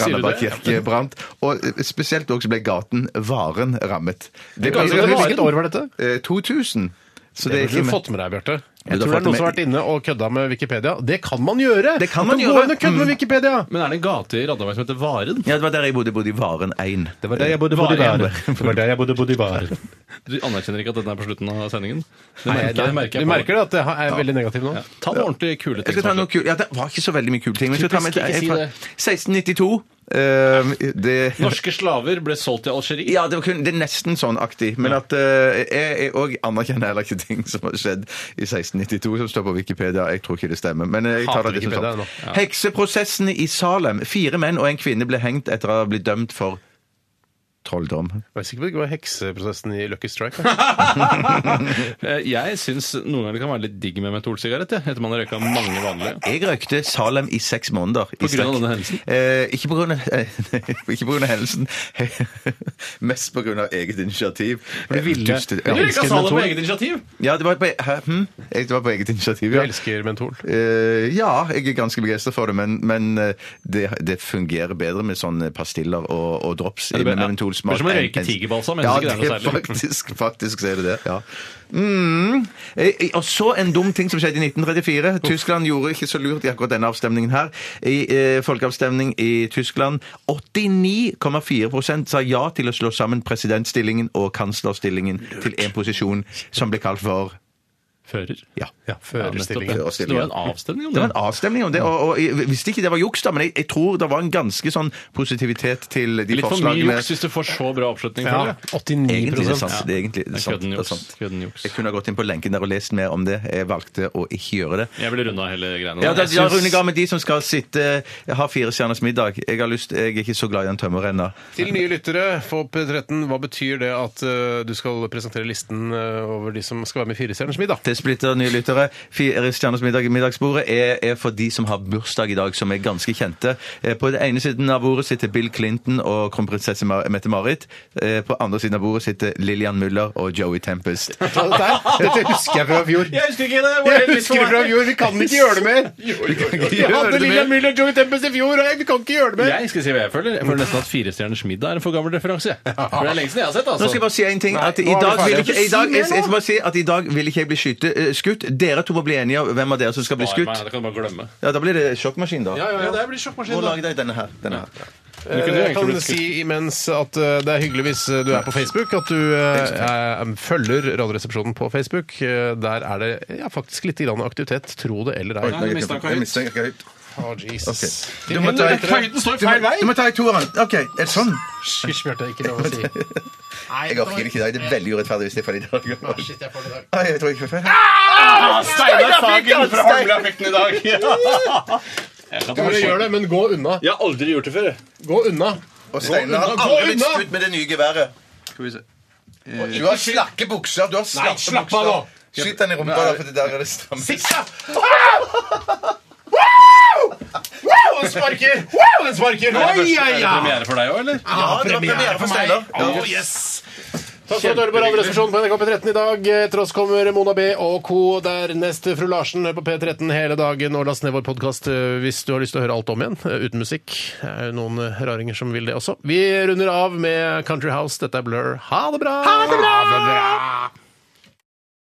du Randaberg det? kirke brant. Og eh, spesielt også ble gaten Varen rammet. Det Hvilket hvilket år var dette? Eh, 2000. Så Det burde det er ikke du med. fått med deg, Bjarte. Ja, Jeg du har tror det er fått noen med- som har vært inne og kødda med Wikipedia. Det kan man gjøre! Mm. Det kan man Gå gjøre. inn og kødde med Wikipedia! Men er det en gate i Randaberg som heter Varen? Ja, det var der jeg bodde. Jeg bodde i Varen 1. Det var der jeg bodde bodde i Varen. Det var der jeg bodde bodde i bar. Du anerkjenner ikke at denne er på slutten av sendingen? Det Nei, det merker, det merker du jeg på. merker det at det er veldig negativt nå? Ta noen ordentlig kule Jeg ting. skal ta som noe har skjedd. kul. Ja, det var ikke så veldig mye kule ting. Men jeg skal ta med, Typisk, ikke si det. 1692. eh, det, Norske slaver ble solgt til Algerie. ja, det, var kun, det er nesten sånn aktig. Men at eh, jeg, jeg også anerkjenner heller ikke ting som har skjedd i 1692, som står på Wikipedia. Jeg tror ikke det stemmer. Men jeg tar Hater det litt som Wikipedia sånn. nå. Hekseprosessene i Salem. Fire menn og en kvinne ble hengt etter å ha blitt dømt for trolldom. Jeg er sikker på at det var hekseprosessen i Lucky Strike. da. Eh, Jeg syns noen ganger det kan være litt digg med mentolsigarett, jeg, etter man har røyka mange vanlige. Jeg røykte Salem i seks måneder. På grunn av denne hendelsen? Eh, ikke på grunn av, eh, ikke på grunn av hendelsen. Mest på grunn av eget initiativ. du ville- Dust- du ja. ville ikke ha Salem på altså eget initiativ! Ja, det var på, hæ, hm? det var på eget initiativ, Du ja. elsker mentol. Eh, ja, jeg er ganske begeistra for det, men, men eh, det, det fungerer bedre med sånne pastiller og, og drops. det blir- med mentolsmak det blir som å enn- røyke enn- tigerbalsam, jeg Ja, synes det ikke det er noe er særlig. faktisk, faktisk så er det det. ja. Mm. Eh, eh, Og så en dum ting som skjedde i 1934. Tyskland gjorde ikke så lurt i akkurat denne avstemningen her. I eh, folkeavstemning i Tyskland 89,4 sa ja til å slå sammen presidentstillingen og kanslerstillingen til én posisjon, som ble kalt for Fører. ja. Ja, nettopp. Førerstillingen. Ja. Så det var en avstemning om Det det. var en avstemning om det, og, og jeg visste ikke det var juks, da, men jeg, jeg tror det var en ganske sånn positivitet til de Litt for mye forslagene. juks hvis du får så bra oppslutning for Ja, det. 89 Egentlig det er sant. Det er egentlig det Det er er sant. kødden Det er juks. sant. Kødden juks. Jeg kunne ha gått inn på lenken der og lest mer om det. Jeg valgte å ikke gjøre det. Jeg ville runda hele greiene. Ja, der. da, Jeg ja, syns- Rune ga med de som skal sitte eh, ha fire stjerners middag. Jeg har lyst, jeg er ikke så glad i den tømmerrenna. Til nye lyttere på P13, hva betyr det at eh, du skal presentere listen eh, over de som skal være med i Firestjerners middag? Det splitter nye lyttere. Fire stjerners middag i middagsbordet er, er for de som har bursdag i dag, som er ganske kjente. Eh, På den ene siden av bordet sitter Bill Clinton og kronprinsesse Ma- Mette-Marit. Eh, På andre siden av bordet sitter Lillian Muller og Joey Tempest. Dette, her, dette husker jeg fra i fjor. husker ikke det! Jeg husker det fra i fjor, vi kan ikke gjøre det mer! Vi hadde Lillian Jeg Müller og Joey Tempest i fjor, og jeg- vi kan ikke gjøre det mer! skal si hva jeg føler. Jeg føler nesten at Firestjerners middag er en for gammel referanse. jeg. For det er lenge siden jeg har sett, Nå skal jeg altså. bare si en ting. At i, nå er vi dag vil ferdige. ikke, i, dag, jeg, jeg skal bare si at I dag vil ikke jeg bli skyte, eh, skutt. Dere to må bli enige om hvem av dere som skal bli Nei, skutt. nei, Det kan du bare glemme. Ja, Da blir det sjokkmaskin, da. Ja, ja, ja, det blir sjokkmaskin. Må lage deg denne her. Denne her. Du kunne jo Jeg egentlig Eh, kan blitt skutt. si imens at eh, det er hyggelig hvis eh, du er på Facebook, at du eh, eh, følger Radioresepsjonen på Facebook. Eh, Der er det ja, faktisk litt grann aktivitet, tro det eller ei. Nei, nå mistet han ikke høyt. Jeg mistenker ikke høyt. Å, Jesus. Ok. Til Du må himmelen ta- retter det. Høyden står Du feil må, vei! du må ta i toeren. OK, er det sånn? Hysj, Bjarte. Ikke lov å si. Nei, Jeg orker ikke i dag. Det er veldig urettferdig hvis jeg faller i dag. Shit, Ah! jeg får det i dag. Nei, jeg tror ikke Ah, Steinar Sagen fra Holmlia fikk den i dag! Du må gjøre det, men gå unna. Jeg har aldri gjort det før. jeg. Gå unna. Og Steinar har Gå aldri blitt unna! skutt med det nye geværet. Du har slakke bukser. Du har slakke Nei, slapp av nå. bukser. Skyt den i rumpa, da, for det der er det stramme. Wow, den sparker! Wow, den sparker! Er Oi, det første- ja, er det ja! premiere for deg òg, eller? Ja, det var premiere for Steinar. Oh, yes! Takk for at du hører på Radioresepsjonen på NRK P13 i dag. Etter oss kommer Mona B og co. Dernest fru Larsen Hør på P13 hele dagen. Og last ned vår podkast hvis du har lyst til å høre alt om igjen, eh, uten musikk. Det er jo noen eh, raringer som vil det også. Vi runder av med Country House. Dette er Blur. Ha det bra! Ha det bra!